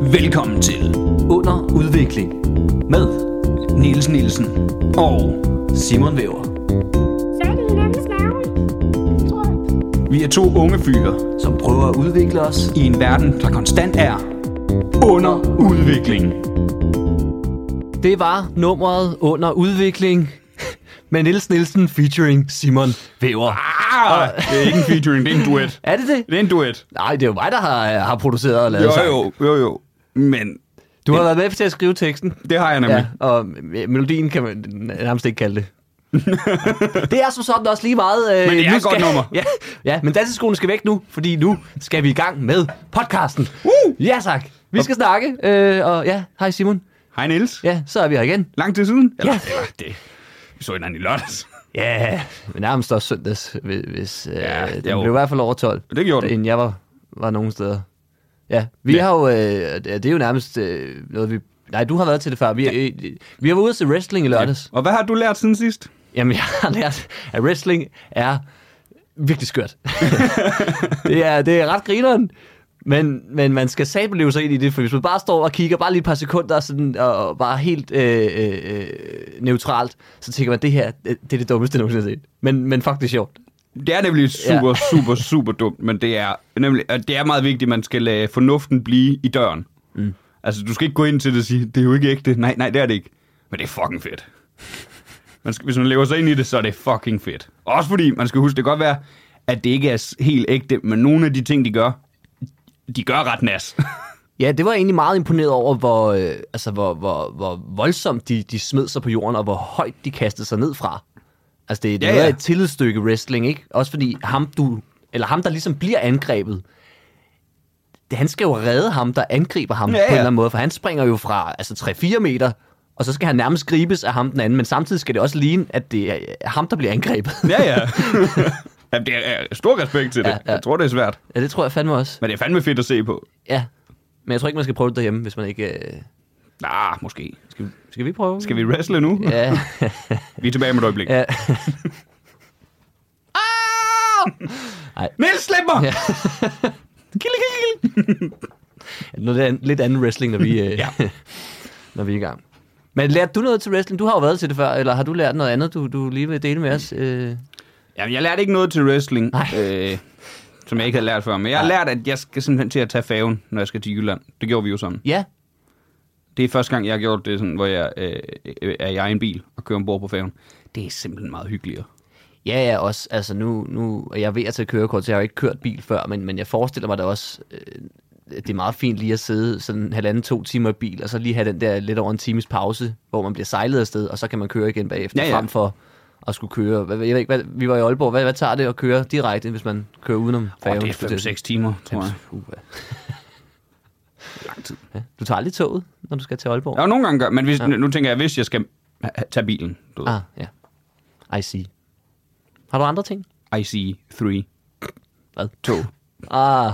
Velkommen til Under Udvikling med Niels Nielsen og Simon Væver. Fat i hinandens navle. Tror jeg. Vi er to unge fyre som prøver at udvikle os. i en verden, der konstant er under udvikling. Det var nummeret under udvikling med Niels Nielsen featuring Simon Væver. Ah, det er ikke en featuring, det er en duet. Er det det? Det er en duet. Nej, det er jo mig, der har, øh, har produceret og lavet Jo, sangen. jo, jo, jo. Men Du har været med til at skrive teksten. det har jeg Ja, nemlig. og me- melodien kan man nærmest ikke kalde det. det er som sådan også lige meget... Øh, Men det er nu et godt skal, nummer. Ja, ja, men danseskolen skal væk nu, fordi nu skal vi i gang med podcasten. Woo! Ja tak. Vi skal snakke, øh, og ja, hej Simon. Hej Niels. Ja, så er vi her igen. Lang tid siden? Eller, Ja. eller det. Vi så hinanden i lørdags. Ja, men nærmest også søndags, hvis, hvis Ja, ja, øh, den jo. blev i hvert fald over 12. Det gjorde den. Inden jeg var, var nogen steder. Ja, vi Ja. ja. har jo, øh, ja, det er jo nærmest øh, noget, vi... Nej, du har været til det før. Vi, ja. øh, vi har været ude til wrestling i lørdags. Og hvad har du lært siden sidst? Jamen, jeg har lært, at wrestling er virkelig skørt. det, er, det er ret grineren. Men, men man skal sabeleve sig ind i det, for hvis man bare står og kigger bare lige et par sekunder sådan, og, og bare helt øh, øh, øh, neutralt, så tænker man, det her det, det er det dummeste, jeg nogensinde har set. Men, men fuck, det er sjovt. Det er nemlig super, ja. super, super dumt, men det er, nemlig, at det er meget vigtigt, at man skal lade fornuften blive i døren. Mm. Altså, du skal ikke gå ind til det og sige, det er jo ikke ægte. Nej, nej, det er det ikke. Men det er fucking fedt. Man skal, hvis man lever sig ind i det, så er det fucking fedt. Også fordi, man skal huske, det kan godt være, at det ikke er s- helt ægte, men nogle af de ting, de gør, de gør ret nas. Ja, det var jeg egentlig meget imponeret over, hvor, øh, altså, hvor, hvor, hvor voldsomt de, de smed sig på jorden, og hvor højt de kastede sig ned fra. Altså, det, det Ja, ja, ja. ja. er et tillidsstykke wrestling, ikke? Også fordi ham, du, eller ham, der ligesom bliver angrebet, det, han skal jo redde ham, der angriber ham Ja, ja, ja. ja. på en eller anden måde, for han springer jo fra altså 3-4 meter, og så skal han nærmest gribes af ham den anden, men samtidig skal det også ligne, at det er øh, ham, der bliver angrebet. ja, ja. Jamen, det er er stor respekt til det. Ja, Ja, ja. ja. Jeg tror, det er svært. Ja, det tror jeg fandme også. Men det er fandme fedt at se på. Ja. Men jeg tror ikke, man skal prøve det derhjemme, hvis man ikke... Øh... Ah, måske. Skal vi, Skal vi prøve? skal vi wrestle nu? Ja. Ja. Vi er tilbage med et øjeblik. ja. Niels, slip mig! Ja. Kille, kille, kille. Noget an, lidt anden wrestling, når vi, øh, Ja. ja. når vi er i gang. Men lærte du noget til wrestling? Du har jo været til det før, eller har du lært noget andet, du, du lige vil dele med os? Øh, Jamen, jeg lærte ikke noget til wrestling, Nej. øh, som jeg ikke havde lært før. Men jeg har lært, at jeg skal simpelthen til at tage færgen, når jeg skal til Jylland. Det gjorde vi jo sammen. ja, Det er første gang, jeg har gjort det, sådan, hvor jeg øh, øh, er i egen bil og kører ombord på færgen. Det er simpelthen meget hyggeligere. Ja, ja, også. Altså nu, nu og jeg er ved at tage kørekort, så jeg har jo ikke kørt bil før, men, men jeg forestiller mig da også, øh, at det er meget fint lige at sidde sådan halvanden, to timer i bil, og så lige have den der lidt over en times pause, hvor man bliver sejlet afsted, og så kan man køre igen bagefter, Ja, ja, ja. ja. frem for at skulle køre. Hvad, jeg ved ikke, hvad, vi var i Aalborg. Hvad, hvad tager det at køre direkte, hvis man kører udenom Og færgen? det er 5-6 timer, tror jeg. Uh, ja. Lang tid. Du tager aldrig toget, når du skal til Aalborg? Jeg nogle gange gør, men hvis, ja. nu tænker jeg, hvis jeg skal ha- tage bilen, du ved, Ah, ja. I see. Har du andre ting? IC3. Hvad? To. Ah.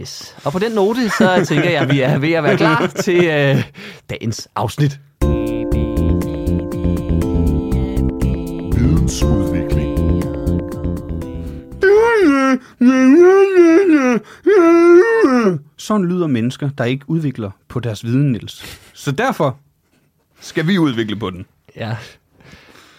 Yes. Og på den note, så tænker jeg, at vi er ved at være klar til øh, dagens afsnit. Vidensudvikling. Sådan lyder mennesker, der ikke udvikler på deres viden, Niels. Så derfor skal vi udvikle på den. Ja.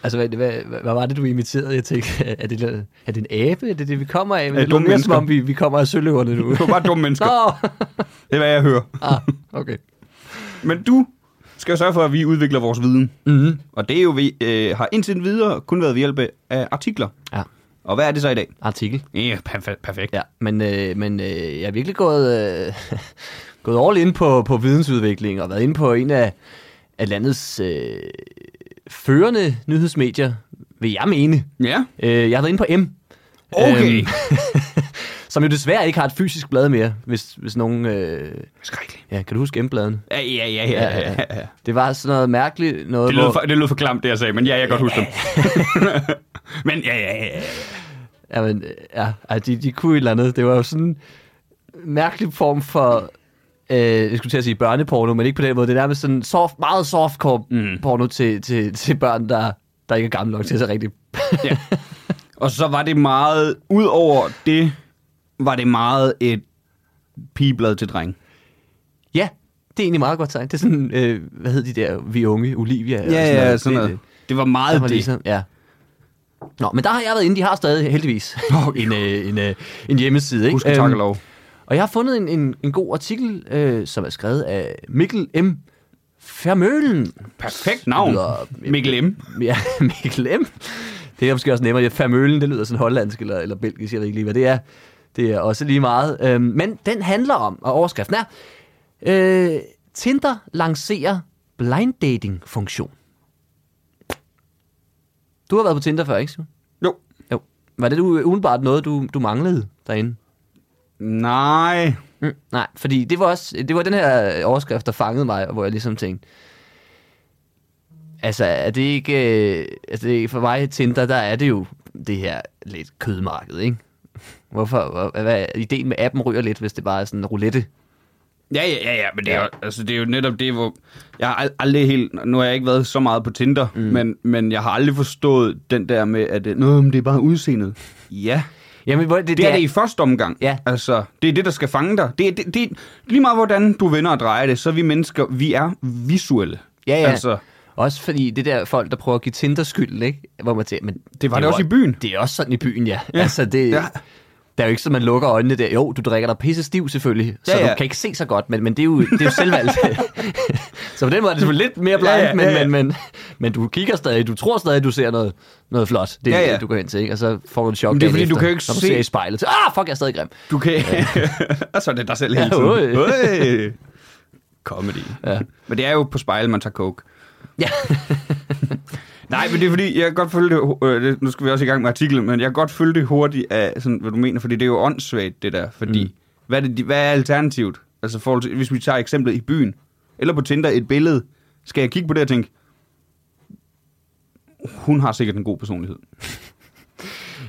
Altså, hvad, hvad, hvad hvad var det, du imiterede? Jeg tænkte, er det, noget- er det en abe? Er det det, vi kommer af? Men Er det dumme lukker som mennesker? om, vi, vi kommer af søløverne nu. Det var bare dumme mennesker. Nå! Det er, hvad jeg hører. Ah, okay. Men du skal jo sørge for, at vi udvikler vores viden. Mm-hmm. Og det er jo, vi øh, har indtil videre kun været ved hjælp af artikler. Ja, Og hvad er det så i dag? artikel. Ja, perfe- perfekt. Ja, men, øh, men øh, jeg har virkelig gået, øh, gået all in på, på vidensudvikling og været inde på en af, af landets øh, førende nyhedsmedier, vil jeg mene. Ja, Øh, jeg har været inde på M, okay. Øhm. som jo desværre ikke har et fysisk blad mere, hvis, hvis nogen... Øh, Skrækkeligt. ja, kan du huske M-bladen? Ja, ja, ja, ja, ja, ja. Det var sådan noget mærkeligt noget, Det lød, hvor- for, det lød for klamt, det jeg sagde, men ja, jeg kan godt huske dem. men ja, ja, ja, ja. Ja, men, ja, ej, de, de kunne et eller andet. Det var jo sådan en mærkelig form for, øh, jeg skulle til at sige børneporno, men ikke på den måde. Det er nærmest sådan soft, meget softcore Mm. mm. porno til, til, til børn, der, der ikke er gamle nok til sig rigtigt. ja. Og så var det meget, ud over det, var det meget et pigeblad til dreng. Ja, det er egentlig meget godt tegn. Det er sådan, øh, hvad hed de der, vi unge, Olivia? og Ja, ja, sådan Det- noget. det- Altså, Det var meget Der var det. ligesom, ja. Nå, men der har jeg været inde. De har stadig, heldigvis, en, øh, en, øh, en hjemmeside. Ikke? Øhm, Husk at takke lov. Og jeg har fundet en, en, en god artikel, øh, som er skrevet af Mikkel M. Fermølen. Perfekt navn. lyder- Mikkel M. Ja, Mikkel M. Det er måske også nemmere. Ja, Fermølen, det lyder sådan hollandsk eller, eller belgisk. Jeg ved ikke lige, hvad det er. Det er også lige meget. Øhm, men den handler om, og overskriften er, øh, Tinder lancerer blind dating-funktion. Du har været på Tinder før, ikke Simon? Jo. Jo. Var det du, udenbart noget, du, du manglede derinde? Nej. Mm, nej, fordi det var, også, det var den her overskrift, der fangede mig, hvor jeg ligesom tænkte, altså er det ikke, øh, altså det er- for mig Tinder, der er det jo det her lidt kødmarked, ikke? Hvorfor, hvor, hvad, ideen med appen ryger lidt, hvis det bare er sådan en roulette. Ja, ja, ja, ja, men det er, jo, altså, det er jo netop det, hvor... Jeg har ald- aldrig helt... Nu har jeg ikke været så meget på Tinder, mm. men, men jeg har aldrig forstået den der med, at øh, Nå, men det er bare udseendet. Ja, Jamen, hvor, det er det i første omgang. Ja. Altså, det er det, der skal fange dig. Det, er- det, det, lige meget hvordan du vender og drejer det, så er vi mennesker, vi er visuelle. Ja, ja. Altså, Også fordi det der folk, der prøver at give Tinder skylden, ikke? Hvor man tænker, men det var det er også jo- i byen. Det er også sådan i byen, ja. ja. Altså, det, Ja. ja. Der er jo ikke sådan, man lukker øjnene der. Jo, du drikker dig pisse stiv selvfølgelig, så Ja, ja, ja. ja. du kan ikke se så godt, men, men det er jo, det er jo selvvalgt. så på den måde er det selvfølgelig lidt mere blind, Ja, ja, ja, ja, ja, ja. Men, men, men, men du kigger stadig, du tror stadig, du ser noget, noget flot, det er Ja, ja, ja. ja. du går hen til, ikke? og så får du en chok Men det er dagen fordi, du efter, kan jo ikke når du se- ser i spejlet. Så, ah, fuck, jeg er stadig grim. Du kan... og så er det dig selv hele Ja, tiden. øj. Øj. Comedy. Ja. Men det er jo på spejl, man tager coke. Ja. Nej, men det er fordi, jeg kan godt følge det, øh, det, nu skal vi også i gang med artiklen, men jeg kan godt følge det hurtigt af, sådan, hvad du mener, fordi det er jo åndssvagt, det der, fordi, mm. hvad, er det, de- hvad er alternativet? Altså, forhold til, hvis vi tager eksemplet i byen, eller på Tinder, et billede, skal jeg kigge på det og tænke, hun har sikkert en god personlighed.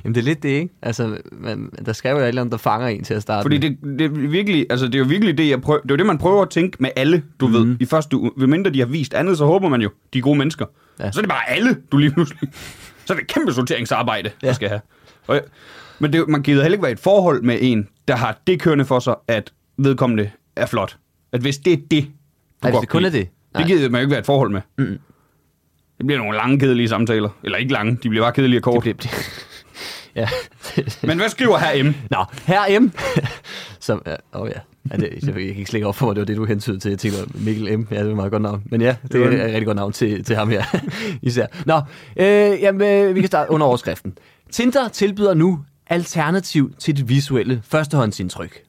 Jamen det er lidt det, ikke? Altså, man, der skal jo være et eller andet, der fanger en til at starte Fordi det, det, er virkelig, altså, det er jo virkelig det, jeg prøver, det er jo det, man prøver at tænke med alle, du mm. Mhm. ved, i første uge. Ved mindre de har vist andet, så håber man jo, de er gode mennesker. Ja. Ja. Så er det bare alle, du lige pludselig. Så er det et kæmpe sorteringsarbejde, ja. Ja. jeg skal have. Og, jeg- men det, er jo- man gider heller ikke være i et forhold med en, der har det kørende for sig, at vedkommende er flot. At hvis det er det, du Nej, hvis godt det kun kan er lide, det. Det Nej. gider man jo ikke være i et forhold med. Mm. Det bliver nogle lange, kedelige samtaler. Eller ikke lange, de bliver bare kedelige og Det korte. bliver... ja. Men hvad skriver her M? Nå, her M. Som, ja, oh ja. ja det, jeg, jeg kan ikke slikke op for mig, det var det, du hentydede til. Jeg tænkte, Mikkel M. Ja, det er et meget godt navn. Men ja, det er Jo. et rigtig godt navn til, til ham her. Især. Nå, øh, jamen, øh, vi kan starte under overskriften. Tinder tilbyder nu alternativ til det visuelle førstehåndsindtryk.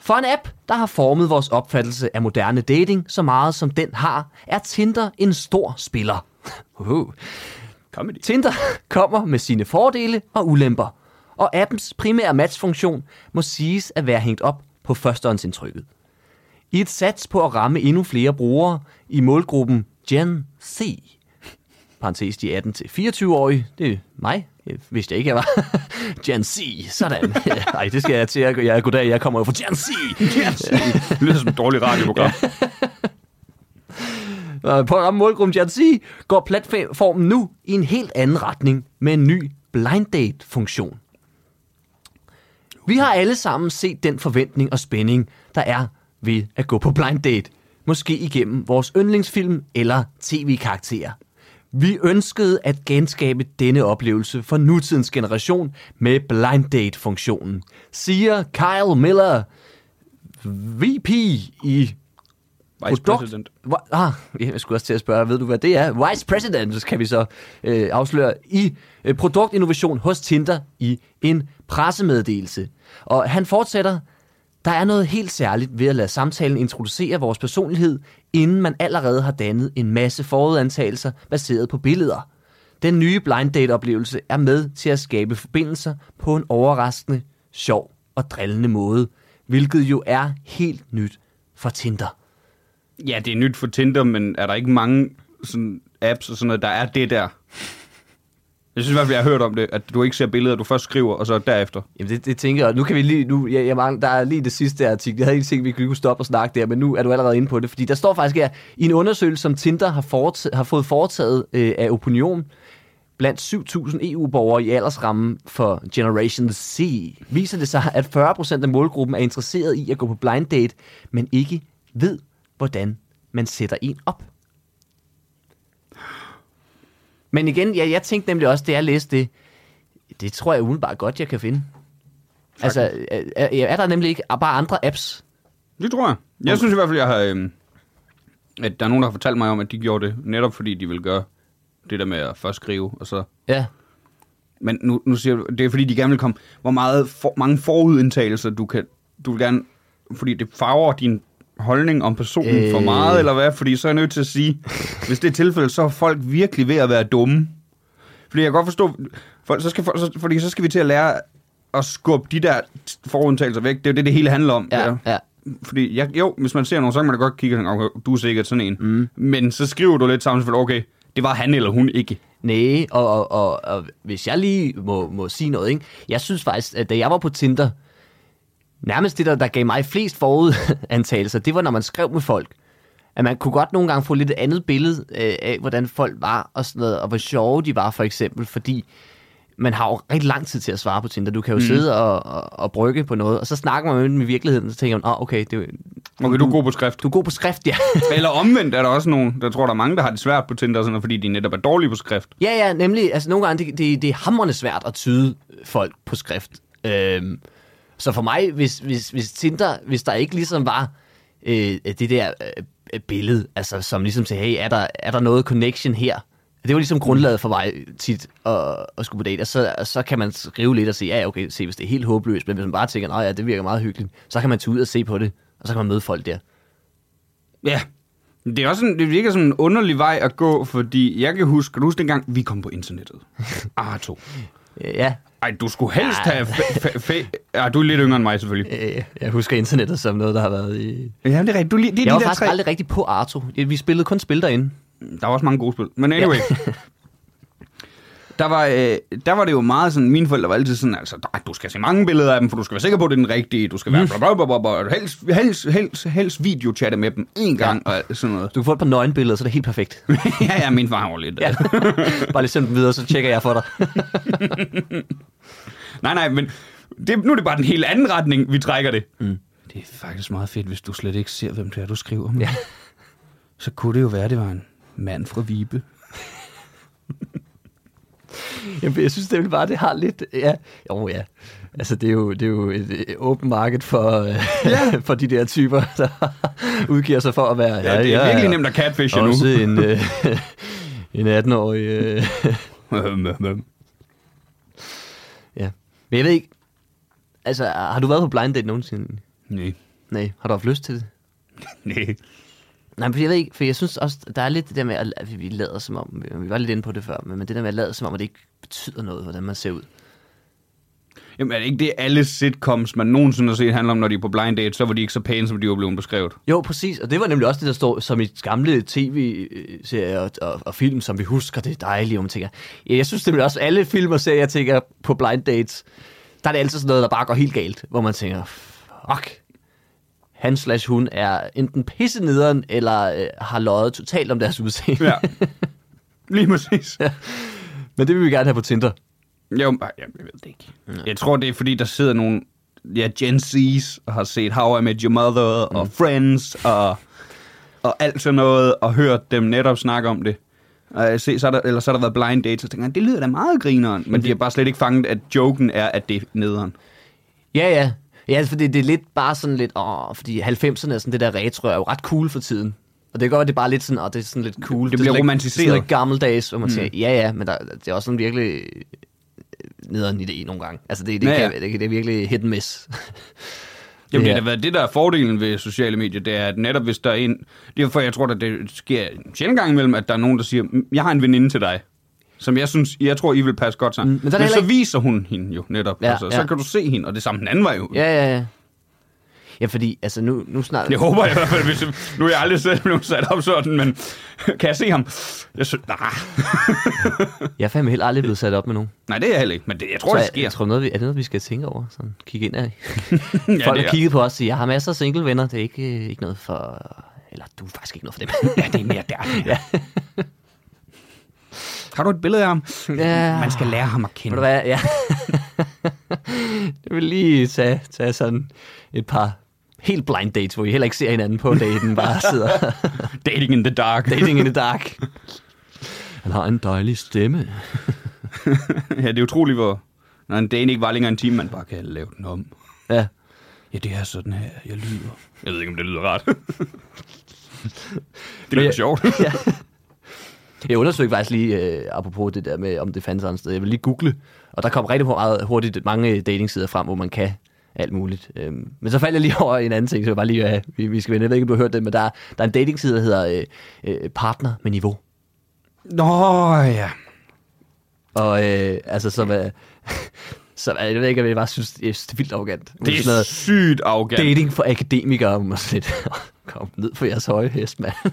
For en app, der har formet vores opfattelse af moderne dating så meget som den har, er Tinder en stor spiller. Uh. Comedy. Tinder kommer med sine fordele og ulemper, og appens primære matchfunktion må siges at være hængt op på førstehåndsindtrykket. I et sats på at ramme endnu flere brugere i målgruppen Gen C, parentes de 18-24-årige, det er mig, jeg vidste jeg ikke, jeg var. Gen C, sådan. Nej, det skal jeg til at jeg, goddag, jeg kommer jo fra Gen C. Det lyder som et dårligt radioprogram. Øh, på at ramme målgruppen Gen Z, går platformen nu i en helt anden retning med en ny blind date-funktion. Vi har alle sammen set den forventning og spænding, der er ved at gå på blind date. Måske igennem vores yndlingsfilm eller tv-karakterer. Vi ønskede at genskabe denne oplevelse for nutidens generation med blind date-funktionen, siger Kyle Miller, VP i Vice produkt- President. Hva- Ah, ja, jeg skulle også til at spørge, ved du hvad det er? Vice President, kan vi så øh, afsløre, i øh, produktinnovation hos Tinder i en pressemeddelelse. Og han fortsætter, der er noget helt særligt ved at lade samtalen introducere vores personlighed, inden man allerede har dannet en masse forudantagelser baseret på billeder. Den nye blind date-oplevelse er med til at skabe forbindelser på en overraskende, sjov og drillende måde, hvilket jo er helt nyt for Tinder. Ja, det er nyt for Tinder, men er der ikke mange sådan, apps og sådan noget, der er det der? Jeg synes i hvert fald, jeg har hørt om det, at du ikke ser billeder, du først skriver, og så derefter. Jamen det, det tænker jeg, nu kan vi lige, nu, jeg, jeg mangler, der er lige det sidste her artikel, jeg havde ikke tænkt, vi kunne stoppe og snakke der, men nu er du allerede inde på det, fordi der står faktisk her, i en undersøgelse, som Tinder har, foretaget, har fået foretaget øh, af Opinion, Blandt 7.000 EU-borgere i aldersrammen for Generation Z viser det sig, at 40% af målgruppen er interesseret i at gå på blind date, men ikke ved, hvordan man sætter en op. Men igen, jeg, jeg tænkte nemlig også, da jeg læste det, det tror jeg udenbart godt, jeg kan finde. Altså, er, er- er der nemlig ikke bare andre apps? Det tror jeg. Jeg synes i hvert fald, jeg har, øhm, at der er nogen, der har fortalt mig om, at de gjorde det, netop fordi de ville gøre det der med at først skrive, og så... Ja. Men nu, nu siger du, det er fordi, de gerne vil komme... Hvor meget for, mange forudindtagelser du kan... Du vil gerne... Fordi det farver din holdning om personen øh. for Øh. meget, eller hvad? Fordi så er jeg nødt til at sige, hvis det er tilfældet, så er folk virkelig ved at være dumme. Fordi jeg kan godt forstå, for, så skal, for, så, fordi så skal vi til at lære at skubbe de der forudindtagelser væk. Det er jo det, det hele handler om. Ja, ja. Fordi, jeg, jo, hvis man ser nogen, så kan man da godt kigge og tænke, okay, du er sikkert sådan en. Mm. Men så skriver du lidt sammen, for okay, det var han eller hun ikke. Næh, og, og, og, og hvis jeg lige må, må sige noget, ikke? jeg synes faktisk, at da jeg var på Tinder, nærmest det, der, der gav mig flest forudantagelser, det var, når man skrev med folk. At man kunne godt nogle gange få lidt et andet billede øh, af, hvordan folk var og sådan noget, og hvor sjove de var for eksempel, fordi man har jo rigtig lang tid til at svare på Tinder. Du kan jo mm. sidde og, og, og brygge på noget, og så snakker man jo med virkeligheden, og så tænker man, oh, okay, det, er jo- Okay, du er god på skrift. du er god på skrift, ja. Eller omvendt er der også nogen, der tror, der er mange, der har det svært på Tinder, og sådan, noget, fordi de netop er dårlige på skrift. Ja, ja, nemlig. Altså, nogle gange, det, det, det er hamrende svært at tyde folk på skrift. Øhm, så for mig, hvis, hvis, hvis Tinder, hvis der ikke ligesom var øh, det der øh, billede, altså, som ligesom sagde, hey, er der, er der noget connection her? Det var ligesom grundlaget for mig tit at, at skulle på date, og så, og så kan man skrive lidt og sige, ja, ja, okay, se, hvis det er helt håbløst, men hvis man bare tænker, nej, ja, det virker meget hyggeligt, så kan man tage ud og se på det, og så kan man møde folk der. Ja. Det er også en, det virker som en underlig vej at gå, fordi jeg kan huske, kan du huske dengang, vi kom på internettet? Arto. Øh, Ja, Ej, du skulle helst Ja. have... Fa- fa- fa- ja, du er lidt yngre end mig, selvfølgelig. øh, jeg husker internettet som noget, der har været i, Ja, det er rigtigt. Du, er lige- det er Jeg de var der faktisk tre... aldrig rigtig på Arto. Vi spillede kun spil derinde. Der var også mange gode spil. Men anyway. der, var, øh, der var det jo meget sådan, mine forældre var altid sådan, altså, "Ej, du skal se mange billeder af dem, for du skal være sikker på, at det er den rigtige, du skal være bla bla bla bla, bla, og helst, helst, helst, helst videochatte med dem en gang, ja. og sådan noget. Du kan få et par nøgenbilleder, så er det helt perfekt. ja, ja, min far var lidt... øh. Ja. Bare lige send dem videre, så tjekker jeg for dig. Nej, nej, men det, nu er det bare den helt anden retning, vi trækker det. Mm. Det er faktisk meget fedt, hvis du slet ikke ser, hvem det er, du skriver med. Ja. Så kunne det jo være, det var en mand fra Vibe. Jamen, jeg synes det bare, det har lidt... Ja. Jo, ja. Altså, det er jo, det er jo et øh, åbent marked for, øh, ja. for de der typer, der udgiver sig for at være... Ja, det er virkelig nemt at catfishe nu. Også en, øh, en 18-årig... Øh, ja. Men jeg ved ikke... Altså, har du været på blind date nogensinde? nej, Nej. Har du haft lyst til det? nej. Nej, men jeg ved ikke, for jeg synes også, der er lidt det der med, at- at vi lader som om, øh, vi var lidt inde på det før, men men det der med at lade som om, at det ikke betyder noget, hvordan man ser ud. Jamen er det ikke det, alle sitcoms, man nogensinde har set, handler om, når de er på blind date, så var de ikke så pæne, som de var blevet beskrevet. Jo, præcis, og det var nemlig også det, der står som i gamle tv-serier og, og, og film, som vi husker, det er dejligt, og man tænker, ja, jeg synes nemlig også, at alle film og serier, jeg tænker på blind dates, der er det altid sådan noget, der bare går helt galt, hvor man tænker, fuck, han slash hun er enten pisse nederen, eller øh, har løjet totalt om deres udseende. Ja. Lige præcis. men det vil vi gerne have på Tinder. Jo, ej, jeg ved det ikke. Jeg tror, det er, fordi der sidder nogle ja, Gen Z's og har set How I Met Your Mother og Friends og, og alt sådan noget, og hørt dem netop snakke om det. Og jeg se, så er der, eller så har der været blind dates, og tænker, jeg, det lyder da meget grineren, men de har bare slet ikke fanget, at joken er, at det er nederen. Ja, ja. Ja, for det, det er lidt bare sådan lidt, åh, fordi 90'erne er sådan det der retro, er jo ret cool for tiden. Og det kan godt være, det er bare lidt sådan, åh, det er sådan lidt cool. Det bliver er sådan lidt- romantiseret. Sådan lidt gammeldags, hvor man mm. siger, ja, ja, men der, det er også sådan virkelig øh, nederen idé nogle gange. Altså, det, det, Ja, ja, ja. Mm. ja. Kan, det, kan- det er virkelig hit and miss. Jamen, det Ja. har da været det, der er fordelen ved sociale medier, det er, at netop hvis der er en... Det er for, jeg tror, at det sker en sjældent gang imellem, at der er nogen, der siger, "Mm, jeg har en veninde til dig, som jeg synes, jeg tror, I vil passe godt sammen. Mm, men men der er men heller så ikke- viser hun hende jo netop. Ja, Ja, altså, ja. Så ja. kan du se hende, og det samme den anden vej jo. ja, ja, ja. Ja, fordi, altså, nu, nu snart... Jeg håber i hvert fald, hvis, nu er jeg aldrig selv blevet sat op sådan, men kan jeg se ham? Jeg synes, nej, Jeg er fandme heller aldrig blevet sat op med nogen. nej, det er jeg heller ikke, men det, jeg tror, Så det jeg, sker. jeg tror, noget, vi, er det noget, vi skal tænke over? Sådan, kigge ind af. ja, Folk det har er. kigget på os og siger, jeg har masser af single venner, det er ikke, øh, ikke noget for... Eller du er faktisk ikke noget for dem. Ja, det er mere der. Ja. Har du et billede af ham? Ja. Man skal lære ham at Ved kende. du hvad? Ja. jeg vil lige tage, tage sådan et par helt blind dates, hvor I heller ikke ser hinanden på daten, bare sidder Dating in the dark. dating in the dark. Han har en dejlig stemme. ja, det er utroligt, hvor... Når en date ikke var længere en time, man bare kan lave den om. Ja. Ja, det er sådan her, jeg lyder. Jeg ved ikke, om det lyder rart. det lyder jeg- sjovt. ja. Jeg undersøgte faktisk lige, øh, apropos det der med, om det fandt sig et sted. Jeg vil lige google, og der kom rigtig meget hurtigt mange datingsider frem, hvor man kan alt muligt. Øhm, men så faldt jeg lige over en anden ting, så jeg bare lige, øh, vi, vi skal vende. Jeg ved ikke, om du har hørt det, men der, er- der er en datingside, der hedder øh, øh, Partner med Niveau. Nå, ja. Og øh, altså, som er... Som, er- jeg ved ikke, om jeg bare synes, jeg synes det er vildt arrogant. Det sådan er noget sygt arrogant. dating for akademikere, må man sige. Kom ned på jeres høje hest, mand.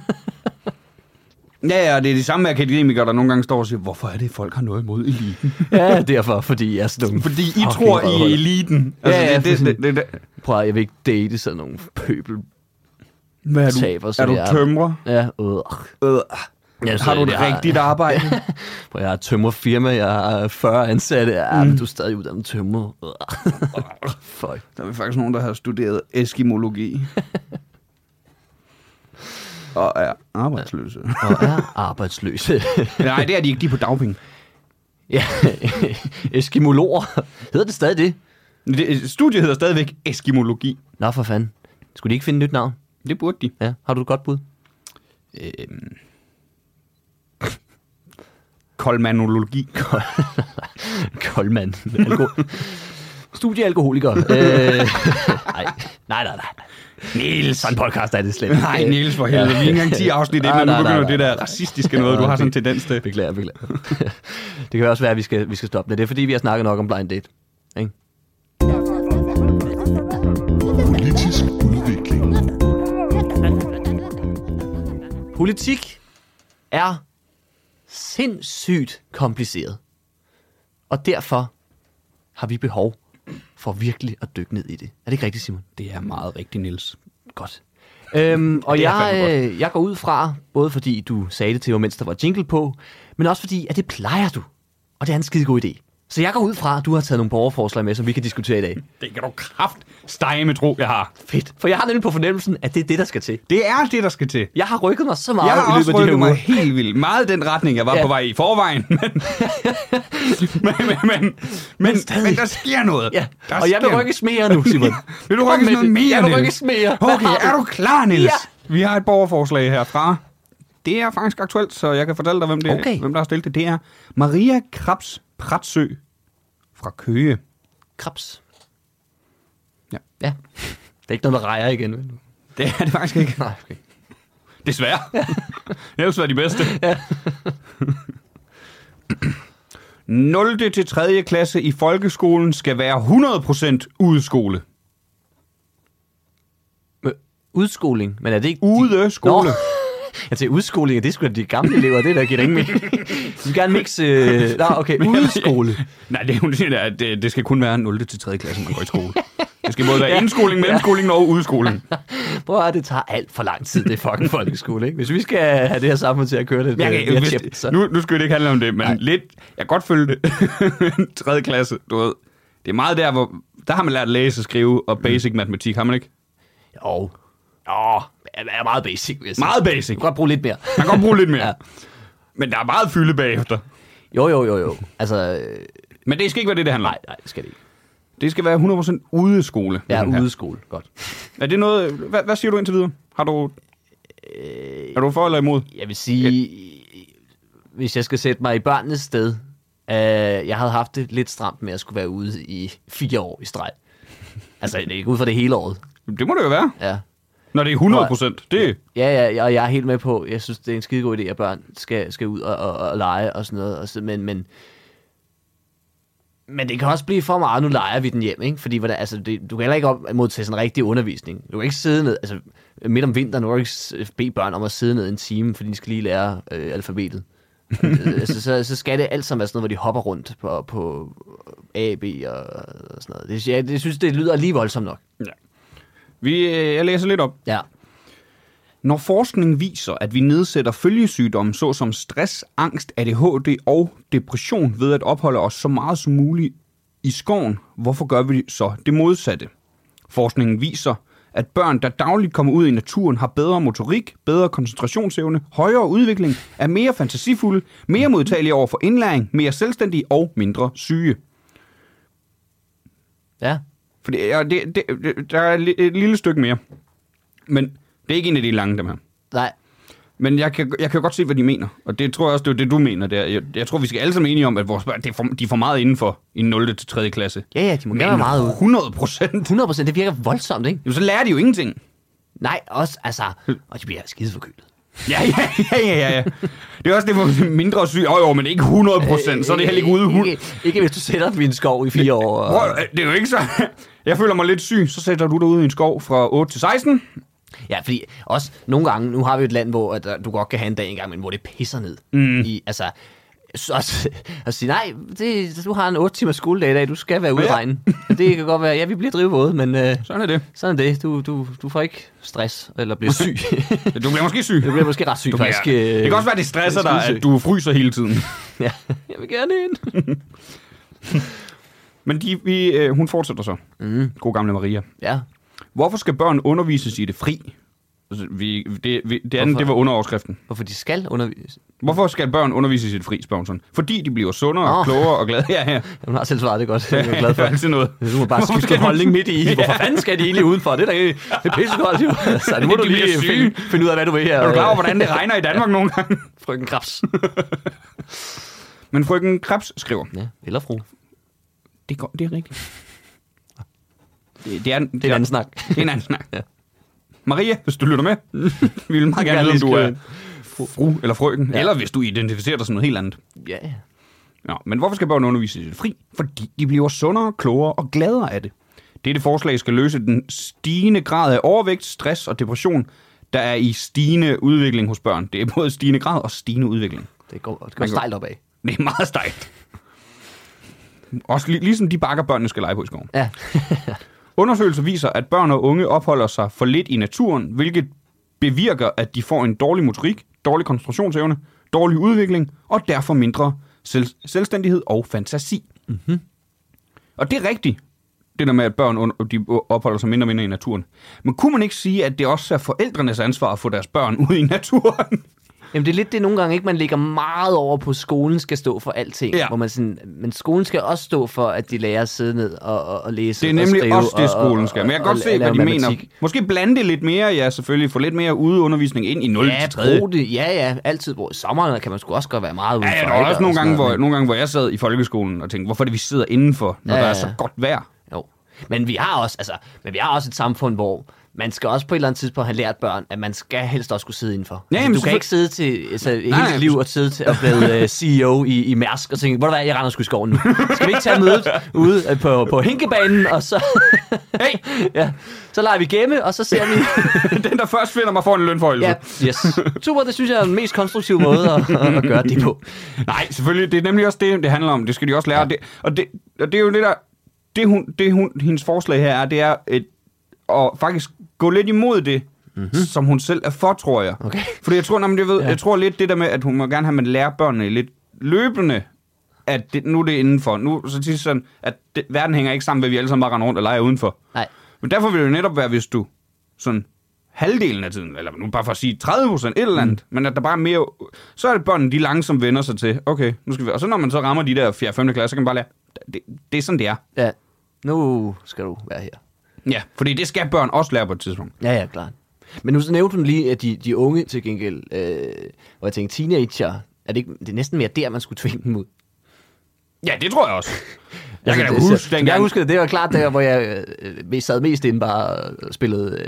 Ja, ja, det er de samme akademikere, der nogle gange står og siger, hvorfor er det, folk har noget imod eliten? ja, derfor, fordi jeg er sådan nogle... Fordi I fucking tror, I røvhuller. er eliten. Altså, Ja, ja, det, det, det, det, det, Prøv at, jeg vil ikke date sådan nogle pøbel. Hvad er Taber, du, som er du jeg er. tømrer? Ja, øh. Øh, Jeg synes, har du et jeg har- rigtigt arbejde? Prøv, at, jeg har et tømmerfirma, jeg har 40 ansatte. Ja, Mm. men du er stadig uddannet tømmer. Øh. Fuck. Der er faktisk nogen, der har studeret eskimologi. og er arbejdsløse. Og er arbejdsløse. Nej, det er de ikke. De er på dagpenge. ja, eskimologer. Hedder det stadig det? Det, studiet hedder stadigvæk eskimologi. Nå, for fanden. Skulle de ikke finde et nyt navn? Det burde de. Ja, har du et godt bud? Øhm. Kolmanologi. Koldmand. Alko- Studiealkoholiker. øh, nej, nej, nej, nej. Niels. Sådan en podcast er det slet ikke. Øh. Nej, Niels, for helvede. Vi er ikke engang 10 afsnit inden, Nej, og nu nej, nej, begynder nej. det der racistiske noget, du har sådan en tendens til. Beklager, beklager. det kan jo også være, at vi skal, vi skal stoppe med det, er fordi vi har snakket nok om blind date. Ikke? Politisk udvikling. Politik er sindssygt kompliceret. Og derfor har vi behov for virkelig at dykke ned i det. Er det ikke rigtigt, Simon? Det er meget rigtigt, Niels. Godt. Øhm, og Det er jeg, fandme øh, jeg går ud fra, både fordi du sagde det til mig, mens der var jingle på, men også fordi, at det plejer du. Og det er en skide god idé. Så jeg går ud fra, at du har taget nogle borgerforslag med, som vi kan diskutere i dag. Det kan du kraft stege med tro, jeg har. Fedt. For jeg har nemlig på fornemmelsen, at det er det, der skal til. Det er det, der skal til. Jeg har rykket mig så meget Jeg har i også løbet af de her rykket mig uger. helt vildt. Meget den retning, jeg var Ja. ja. på vej i forvejen. Men, men, men, men, men, men, men der sker noget. Ja. Der Og jeg vil sker- rykkes mere nu, Simon. Vil du Kom rykkes med noget det. mere, Jeg vil Niels? rykkes mere. Hvad Okay, har er du? du klar, Niels? Ja. Vi har et borgerforslag herfra. Det er faktisk aktuelt, så jeg kan fortælle dig, hvem, det, Okay. okay. hvem der har stillet det. Det er Maria Krabs Pratsø fra Køge. Krebs. Ja. Ja. Det er ikke noget med rejer igen, vel? Det er det faktisk ikke. Nej, okay. Desværre. Ellers var de bedste. 0. til 3. klasse i folkeskolen skal være 100% udskole. Men Udskoling, men er det ikke... Ude skole. Nå. Jeg tænker, udskoling, det er sgu da de gamle elever, det der giver da ingen mening. Du vil gerne mixe... Øh... Nå, okay, udskole. Nej, det, hun siger, at det, det skal kun være 0. til 3. klasse, man går i skole. Det skal både være indskoling, mellemskoling og udskoling. Prøv at høre, det tager alt for lang tid, det er fucking folkeskole, ikke? Hvis vi skal have det her samfund til at køre det, Jeg øh, kan, mere hvis, tjept, så... nu, nu skal det ikke handle om det, men Nej. Nej. lidt... Jeg kan godt følge det. 3. klasse, du ved. Det er meget der, hvor... Der har man lært at læse, skrive og basic mm. matematik, har man ikke? Jo. Åh, jeg er meget basic, vil jeg sige. Meget basic. Du kan godt bruge lidt mere. Man kan godt bruge lidt mere. Ja. ja. Men der er meget fylde bagefter. Jo, jo, jo, jo. Altså, øh, Men det skal ikke være det, det handler om. nej, nej, det skal det ikke. Det skal være 100% ude skole. Jeg den her. er ude skole. Godt. Er det noget... Hvad, hvad siger du indtil videre? Har du... Er du for eller imod? Jeg vil sige, hvis jeg skal sætte mig i børnenes sted, øh, jeg havde haft det lidt stramt med at skulle være ude i fire år i streg. Altså, det er ikke ud for det hele året. Det må det jo være. Ja. Når det er 100%. Det, Ja, ja, og jeg er helt med på, jeg synes, det er en skidegod idé, at børn skal, skal ud og, og, og lege og sådan noget. Og så, men, men, men det kan også blive for meget, nu leger vi den hjem, ikke? Fordi hvordan, altså, det, du kan heller ikke op modtage sådan en rigtig undervisning. Du kan ikke sidde ned, altså midt om vinteren, du kan ikke s- bede børn om at sidde ned en time, fordi de skal lige lære øh, alfabetet. Øh, altså, så, så skal det alt sammen være sådan noget, hvor de hopper rundt på, på A, B og, og sådan noget. Det, jeg, det synes, det lyder lige voldsomt nok. Vi, øh, jeg læser lidt op. Ja. Når forskning viser, at vi nedsætter følgesygdomme såsom stress, angst, ADHD og depression ved at opholde os så meget som muligt i skoven, hvorfor gør vi så det modsatte? Forskningen viser, at børn, der dagligt kommer ud i naturen, har bedre motorik, bedre koncentrationsevne, højere udvikling, er mere fantasifulde, mere modtagelige over for indlæring, mere selvstændige og mindre syge. Ja. Fordi, ja, det, det, det, der er et li- et lille stykke mere. Men det er ikke en af de lange, dem her. Nej. Men jeg kan, jeg kan godt se, hvad de mener. Og det tror jeg også, det er det, du mener der. Jeg, jeg tror, vi skal alle sammen enige om, at vores børn, det er for, de er for meget indenfor i 0. til 3. klasse. Ja, ja, de må Men gerne være meget ude. 100 procent. 100 procent, det virker voldsomt, ikke? Jamen, så lærer de jo ingenting. Nej, også, altså, og de bliver skide forkølet. Ja, ja, ja, ja, ja, ja. Det er også det, hvor mindre syg. Åh, jo, men ikke 100 procent. Så er det heller ikke ude. hu- Ikke, ikke hvis du sætter dem i en skov i fire år. Og... Prøv, det er jo ikke så... Jeg føler mig lidt syg, så sætter du dig ud i en skov fra 8 til 16. Ja, fordi også nogle gange, nu har vi et land, hvor at, øh, du godt kan have en dag engang, men hvor det pisser ned. Mm. I, altså, så at, at sige, nej, det, du har en 8 timers skoledag i dag, du skal være ude Ja. ja. regnen. Det kan godt være, ja, vi bliver drivvåde, men øh, Sådan er det. sådan er det. Du, du, du får ikke stress eller bliver syg. Du bliver måske syg. du bliver måske ret syg, Du bliver, faktisk. øh, det kan også være, det stresser dig, skidesyg. at du fryser hele tiden. Ja, jeg vil gerne ind. Men de, vi, øh, hun fortsætter så. Mm. God gamle Maria. Ja, Hvorfor skal børn undervises i det fri? Altså, Vi, det, vi, det andet, Hvorfor? det var underoverskriften. hvorfor de skal undervise. Hvorfor skal børn undervises i det fri, spørger hun sådan. Fordi de bliver sundere, oh. Åh. klogere og glade. Ja, ja. Hun har selv svaret det godt. Jeg er glad for. Det er altid noget. Du må bare Hvorfor skifte skal en du- holdning midt i. Hvorfor fanden skal de egentlig udenfor? Det er da ikke, det er pissekoldt, jo. Så nu må De du lige bliver syge. finde, finde, ud af, hvad du vil her. Er du klar over, hvordan det regner i Danmark nogle gange? Frøken Krabs. Men frøken Krebs skriver. Ja, eller fru. Det, går, det er rigtigt. Det, det, er, det, Det er en anden snak. Det er en anden snak. Ja. Maria, hvis du lytter med, vi vil meget gerne gerne vide, om lige du er skrive fru eller frøken, ja. Ja. eller hvis du identificerer dig som noget helt andet. Ja, ja. Nå, men hvorfor skal børn undervises i det fri? Fordi de bliver sundere, klogere og gladere af det. Dette forslag skal løse den stigende grad af overvægt, stress og depression, der er i stigende udvikling hos børn. Det er både stigende grad og stigende udvikling. Det går, det går Man kan- stejlt opad. Det er meget stejlt. Også lig- ligesom de bakker børnene skal lege på i skoven. Ja. Undersøgelser viser, at børn og unge opholder sig for lidt i naturen, hvilket bevirker, at de får en dårlig motorik, dårlig koncentrationsevne, dårlig udvikling og derfor mindre selv- selvstændighed og fantasi. Mm-hmm. Mhm. Og det er rigtigt, det der med, at børn und- de opholder sig mindre og mindre i naturen. Men kunne man ikke sige, at det også er forældrenes ansvar at få deres børn ud i naturen? Jamen, det er lidt det nogle gange, ikke? Man ligger meget over på, at skolen skal stå for alting. Ja. Hvor man sådan, men skolen skal også stå for, at de lærer at sidde ned og, og, og læse Det er og nemlig skrive, også det, og- og- skolen skal. Men jeg kan og- godt og se, hvad lave de mener. matematik. Måske blande det lidt mere, ja selvfølgelig. Få lidt mere udeundervisning ind i 0. Ja, til 3. brug det. Ja, ja, altid. Hvor i sommeren kan man sgu også godt være meget udenfor. Ja, ja, der var ikke? også nogle sådan gange, noget, hvor, nogle gange, hvor jeg sad i folkeskolen og tænkte, hvorfor er det, vi sidder indenfor, når Ja, der er ja, så ja. godt vejr? Jo. Men vi har også, altså, men vi har også et samfund, hvor man skal også på et eller andet tidspunkt have lært børn, at man skal helst også kunne sidde indenfor. Ja, Ja, altså, jamen, du kan selvfø- ikke sidde til altså, Nej, hele dit liv men- og sidde til at blive uh, CEO i, i Mærsk og tænke, hvor hvad, jeg render sgu i skoven nu. Skal vi ikke tage mødet ude øh, på, på Hinkebanen, og så, Hey, ja, så leger vi gemme, og så ser vi... den der først finder mig får en lønforhøjelse. Ja, yes. Super, det synes jeg er den mest konstruktive måde at, at gøre det på. Nej, selvfølgelig, det er nemlig også det, det handler om. Det skal de også lære. Ja. Det, og, det, og det er jo det der, det, hun, det hun, hendes forslag her er, det er et, at faktisk gå lidt imod det, mm-hmm. som hun selv er for, tror jeg. Mhm. Okay. Fordi jeg tror, nej, men jeg, ved, ja. Ja. jeg tror lidt det der med, at hun må gerne have, at man lærer børnene lidt løbende, at det, nu er det indenfor. Nu så siger sådan, at det, verden hænger ikke sammen, ved at vi alle sammen bare render rundt og leger udenfor. Nej. Men derfor vil det jo netop være, hvis du sådan halvdelen af tiden, eller nu bare for at sige 30 procent, et eller andet, mm. men at der bare er mere, så er det børnene, de langsomt vender sig til, okay, nu skal vi, og så når man så rammer de der 4. 5. klasse, så kan man bare lære, det, det er sådan, det er. Ja, nu skal du være her. Ja, fordi det skal børn også lære på et tidspunkt. Ja, ja, klart. Men nu så nævnte hun lige, at de, de unge til gengæld, øh, hvor jeg tænkte, teenager, er det, ikke, det er næsten mere der, man skulle tvinge dem ud. Ja, det tror jeg også. Jeg kan da Altså, det, huske dengang. Jeg dengang. husker, det var klart der, hvor jeg øh, mest- sad mest inde bare og spillede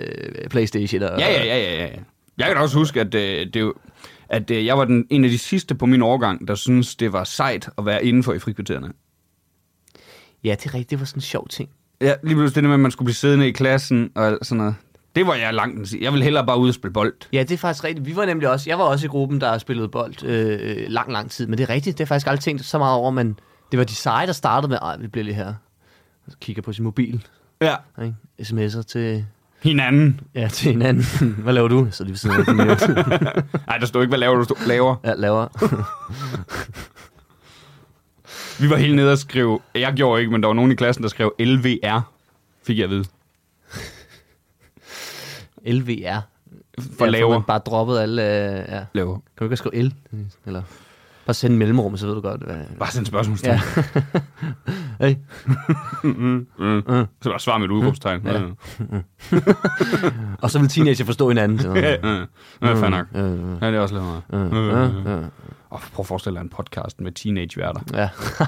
øh, Playstation. Og, Ja, ja, ja, ja, ja. Jeg kan da også huske, at, øh, det, er jo- at øh, jeg var den, en af de sidste på min årgang, der synes det var sejt at være indenfor i frikvartererne. Ja, det er rigtigt. Det var sådan en sjov ting. Ja, lige pludselig det der med, at man skulle blive siddende i klassen og alt sådan noget. Det var jeg langt den sige. Jeg ville hellere bare ud og spille bold. Ja, det er faktisk rigtigt. Vi var nemlig også, jeg var også i gruppen, der spillede bold øh, øh, lang, lang tid. Men det er rigtigt. Det har jeg faktisk aldrig tænkt så meget over, men det var de seje, der startede med, ej, vi bliver lige her. Og så kigger på sin mobil. Ja. Ikke? SMS'er til Hinanden. Ja, til hinanden. Hvad laver du? Så lige ved siden af den nævnt. Nej, der stod ikke, hvad laver du stod, laver. Ja, laver. Vi var helt nede og skrev, jeg gjorde ikke, men der var nogen i klassen, der skrev LVR, fik jeg at vide, LVR. for Ja, laver. man bare droppet alle... øh, ja. laver. Kan du ikke bare skrive L? Eller bare sende mellemrum, så ved du godt. Hvad... Bare sådan et spørgsmålstegn. Ja. Ja. hey. Mm. Så bare svar med et udråbstegn. Ja. Ja. Og så vil teenager forstå hinanden. Sådan noget. Ja, ja, fair nok. Øh, øh, Ja, det er også lidt meget. øh, øh, øh. Og prøv at forestille dig en podcast med teenageværter. Ja.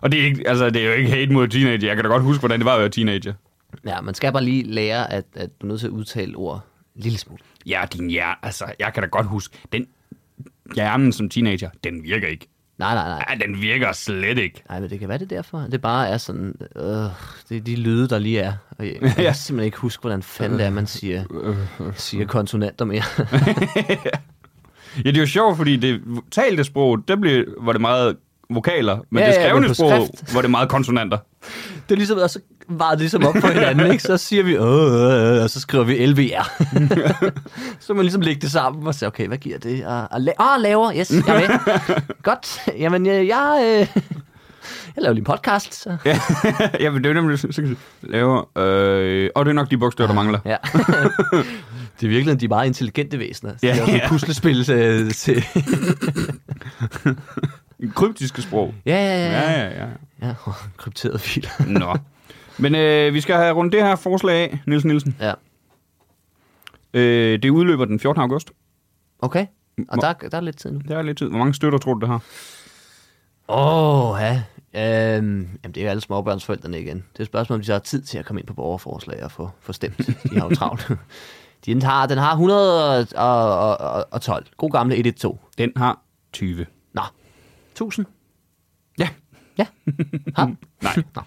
Og det er, ikke, altså, det er jo ikke hate mod teenager. Jeg kan da godt huske, hvordan det var at være teenager. ja, man skal bare lige lære, at, at du er nødt til at udtale ord en lille smule. Ja, din hjerne. Altså, jeg kan da godt huske. Den hjernen som teenager, den virker ikke. Nej, nej, nej. Ja, den virker slet ikke. Nej, men det kan være det er derfor. Det bare er sådan, øh, det er de lyde, der lige er. Og jeg, jeg Ja. kan simpelthen ikke huske, hvordan fanden det er, man siger, siger konsonanter mere. Ja, det er jo sjovt, fordi det talte sprog, det blev, var det meget vokaler, men Ja, ja, det ja, men skrevne på ja, sprog, skrift. var det meget konsonanter. det er ligesom, og så var det ligesom op på hinanden, ikke? Så siger vi, øh, øh, øh, og så skriver vi LVR. så må man ligesom lægge det sammen og sige, okay, hvad giver det? Og, og, la- og laver, yes, jeg er med. Godt, jamen jeg, jeg, øh, jeg laver lige en podcast. Så. Ja, ja men det er jo nemlig, så kan jeg sige, laver, øh, og det er nok de bogstaver, der mangler. Ja. det er virkelig, de er meget intelligente væsener. Så Ja, det er også ja. et puslespil øh, til... Kryptiske sprog. ja, ja, ja. Ja, ja. ja, ja. ja. krypteret filer. Nå. Men øh, vi skal have rundt det her forslag af, Niels Nielsen. ja. Øh, det udløber den 14. august. Okay. Og Må- der, er- der er lidt tid nu. Det er lidt tid. Hvor mange støtter tror du, det har? Åh, oh, ja. Øhm, jamen, det er jo alle småbørnsforældrene igen. Det er et spørgsmål, om de så har tid til at komme ind på borgerforslag og få, få stemt. De har jo travlt. den, har, den har 112. God gamle 112. Den har 20. Nå, 1000. Ja. Ja. Har. Nej. Nå.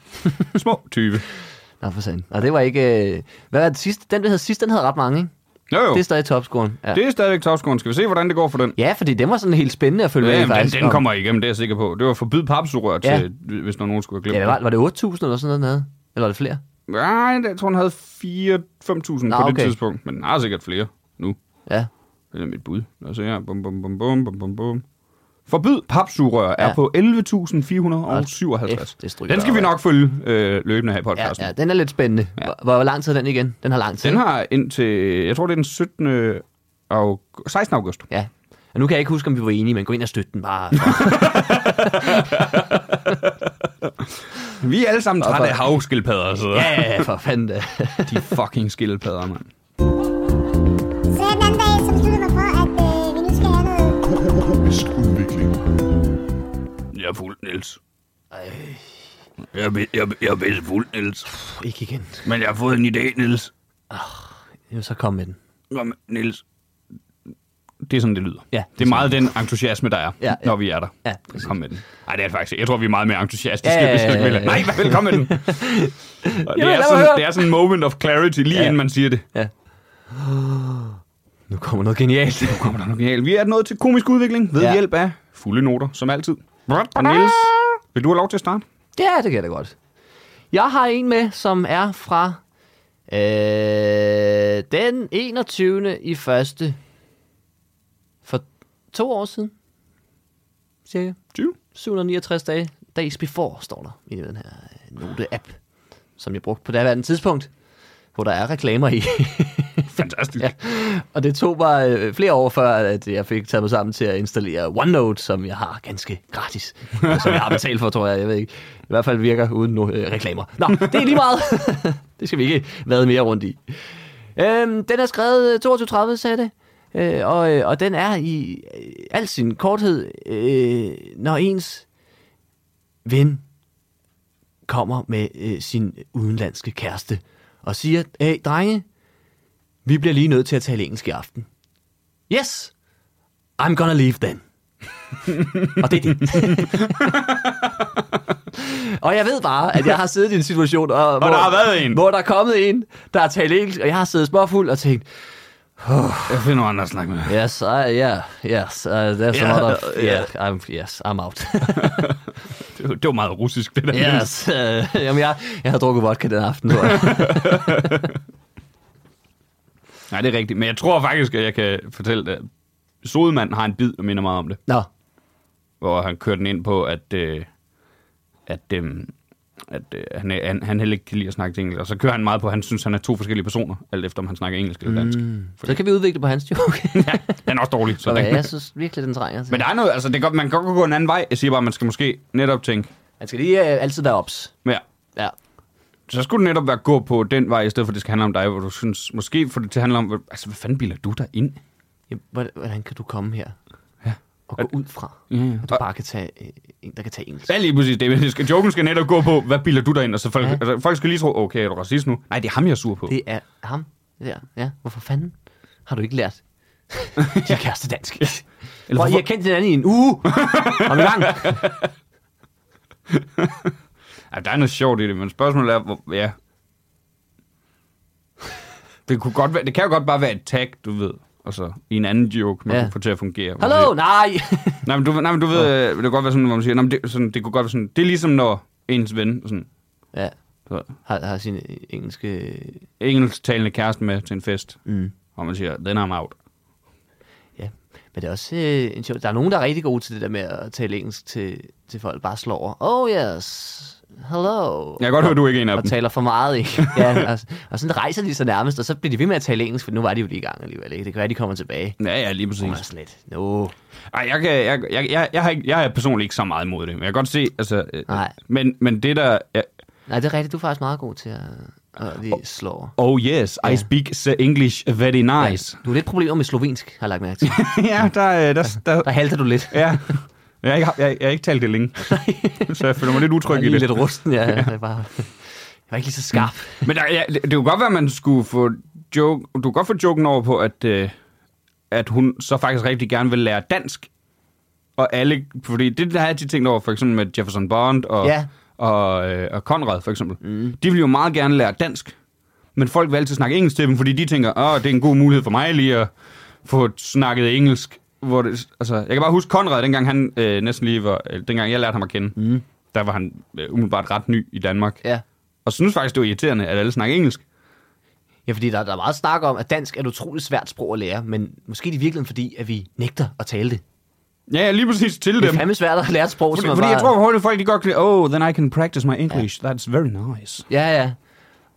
Små 20. Nå, for satan. Og det var ikke... Øh... Hvad var det sidste? Den, der hed sidst, den havde ret mange, ikke? Jo, jo. Det er stadig topscoren. Ja. Det er stadigvæk topscoren. Skal vi se, hvordan det går for den? ja, fordi den var sådan helt spændende at følge Ja, med i, jamen, den, faktisk. den kommer igennem, det er jeg sikker på. Det var forbyd papsugerør Ja. til, hvis der var nogen skulle have glemt Ja, hvad var, det? var det 8000 eller sådan noget, den havde? Eller var det flere? Nej, jeg tror, han havde 4-5.000 Nå, på det okay. tidspunkt. Men han har sikkert flere nu. Ja. Det er mit bud. Lad os se her. Bum, bum, bum, bum, bum, bum, bum. Forbyd papsugerør ja. er Ja. på 11.457. F, det stryger Den skal vi deroppe. nok følge øh, løbende her i Ja, podcasten. ja, den er lidt spændende. Ja. Ja. Hvor, hvor lang tid er den igen? Den har lang tid. Den ikke? har indtil, jeg tror det er den 17. Og 16. august. Ja. Og nu kan jeg ikke huske, om vi var enige, men gå ind og støtte den bare. For, Vi er alle sammen Hvorfor? trætte af havskildpadder, så ja, ja, ja, for fanden da. de fucking skildpadder, mand. Så den anden dag, så besluttede jeg mig for, at øh, vi nu skal have noget Økonomisk udvikling. Jeg er fuld, Niels. Ej, Jeg er, be- jeg, er- jeg er bedst fuld, Niels. pff, ikke igen. Men jeg har fået en idé, Niels. Jo, så kom med den. Kom, Niels. Det er sådan, det lyder. Ja, det er meget den entusiasme, der er, Ja, ja. når vi er der. Ja, præcis. Kom med den. Nej, det er det faktisk. ikke. Jeg tror, vi er meget mere entusiastiske. Ja, Ja, ja, ja, ja, ja, ja, ja. ja. Nej, vel, kom med den. Og det, Jamen, lad er mig sådan, høre. det er sådan en moment of clarity, lige ja. Ja. inden man siger det. Ja. Nu kommer noget genialt. Nu kommer der noget genialt. Vi er nået til komisk udvikling ved ja. Ja. hjælp af fulde noter, som altid. Og Niels, vil du have lov til at starte? Ja, det kan jeg da godt. Jeg har en med, som er fra øh, den 21. i første for to år siden. Cirka. 20. 769 dage, days before, står der i den her øh, note-app, som jeg brugte på daværende tidspunkt, hvor der er reklamer i. Fantastisk. ja. Og det tog mig øh, flere år før, at jeg fik taget mig sammen til at installere OneNote, som jeg har ganske gratis. Og som jeg har betalt for, tror jeg. Jeg ved ikke. I hvert fald virker uden no- øh, reklamer. Nå, det er lige meget. det skal vi ikke vade mere rundt i. Øhm, den er skrevet øh, 22.30, sagde det. Øh, og, øh, og den er i øh, al sin korthed, øh, når ens ven kommer med øh, sin udenlandske kæreste og siger, hey drenge, vi bliver lige nødt til at tale engelsk i aften. Yes, I'm gonna leave then. og det er det. og jeg ved bare, at jeg har siddet i en situation, og, og der har været en. hvor der er kommet en, der har talt engelsk, og jeg har siddet småfuld og tænkt, Jeg finder nogen andre at snakke med. Yes, I, yeah, yes, uh, there's Yeah, a lot of... yeah. Yeah, I'm, yes, I'm out. Det var- Det var meget russisk, det der. yes, uh, jamen, jeg, jeg har drukket vodka den aften, tror jeg. Nej, det er rigtigt. Men jeg tror faktisk, at jeg kan fortælle det. Sodemann har en bid, der minder meget om det. Nå, Hvor han kører den ind på, at, øh, at, øh, at øh, han, er- han, han heller ikke kan lide at snakke engelsk. Og så kører han meget på, at han synes, han er to forskellige personer, alt efter om han snakker engelsk eller dansk. Mm. så kan vi udvikle på hans joke. Den er også dårlig. Så Nå, den, men jeg synes virkelig, den trænger til. men der er noget, altså det kan, man kan godt gå en anden vej. Jeg siger bare, at man skal måske netop tænke, Man skal lige uh, altid være ops. mere. Ja. Så skulle det netop være gå på den vej, i stedet for at det skal handle om dig, hvor du synes, måske får det til at handle om, hvor- altså hvad fanden biler du der ind? Jamen, hvordan- hvordan kan du komme her Ja. og gå ud fra, Ja, ja. at du bare kan tage øh, en, der kan tage engelsk? Det er lige præcis det. men det skal, joken skal netop gå på, hvad bilder du dig ind? Og så folk, Ja. ja. altså, folk skal lige tro, okay, er du racist nu? Nej, det er ham, jeg er sur på. Det er ham der. Ja, hvorfor fanden har du ikke lært de er kæreste dansk? Eller hvorfor... I hvorfor- har kendt hinanden i en uge. Om i gang. Ja, der er noget sjovt i det, men spørgsmålet er, hvor, ja. Det, kunne godt være, det kan jo godt bare være et tag, du ved. Og så i en anden joke, man Ja. ja. kunne få til at fungere. hvor man Hallo, siger- nej. Nej, men du, nej, men du ved, øh, det kan godt være sådan, hvor man siger, nej, men det, sådan, det kunne godt være sådan, det er ligesom når ens ven, sådan, ja, så, har, har sin øh, engelske... engelsktalende kæreste med til en fest, Mm. og man siger, den er out. Ja, men det er også øh, en sjov... Der er nogen, der er rigtig gode til det der med at tale engelsk til, til folk. Bare slår over. Oh yes, hello. Jeg kan godt høre, du er ikke en af og dem. taler for meget, ikke? Ja, og, og sådan rejser de så nærmest, og så bliver de ved med at tale engelsk, for nu var de jo lige i gang alligevel, ikke? Det kan være, de kommer tilbage. Ja, ja, lige præcis. Hun er sådan lidt, no. Ej, jeg, kan, jeg, jeg, jeg, jeg, har ikke, jeg er personligt ikke så meget imod det. Men jeg kan godt se, altså... øh, Nej. Men, men det der... Ja, Nej, det er rigtigt, du er faktisk meget god til at, at lige slå over. oh yes, I Ja. speak the English very nice. Ja, du har lidt problemer med slovensk, har jeg lagt mærke til. ja, der... øh, der, der Der halter du lidt. ja. Jeg har, ikke, jeg, jeg har ikke talt det længe, så jeg føler mig lidt Mm. utryg i Lige det. lidt rusten, ja. ja. Jeg, bare, jeg var ikke lige så skarp. Men der, ja, det, det kunne godt være, at man skulle få joke, du kunne godt få joken over på, at, øh, at hun så faktisk rigtig gerne vil lære dansk. Og alle, fordi det der har jeg tit tænkt over, for eksempel med Jefferson Bond og, Ja. og, øh, og Conrad for eksempel. Mm. De vil jo meget gerne lære dansk, men folk vil altid snakke engelsk til dem, fordi de tænker, åh, det er en god mulighed for mig lige at få snakket engelsk. Hvor det, altså, jeg kan bare huske Conrad, dengang han øh, næsten lige var, øh, dengang jeg lærte ham at kende, mm. der var han øh, umiddelbart ret ny i Danmark. Ja. Og synes faktisk, det var irriterende, at alle snakker engelsk. Ja, fordi der, der er meget snak om, at dansk er et utroligt svært sprog at lære, men måske er det i virkeligheden fordi, at vi nægter at tale det. Ja, ja lige præcis til Det er dem. fandme svært at lære et sprog, Fordi, som er fordi bare... jeg tror hurtigt, folk de godt kan lide, oh, then I can practice my English. Ja. That's very nice. Ja, ja.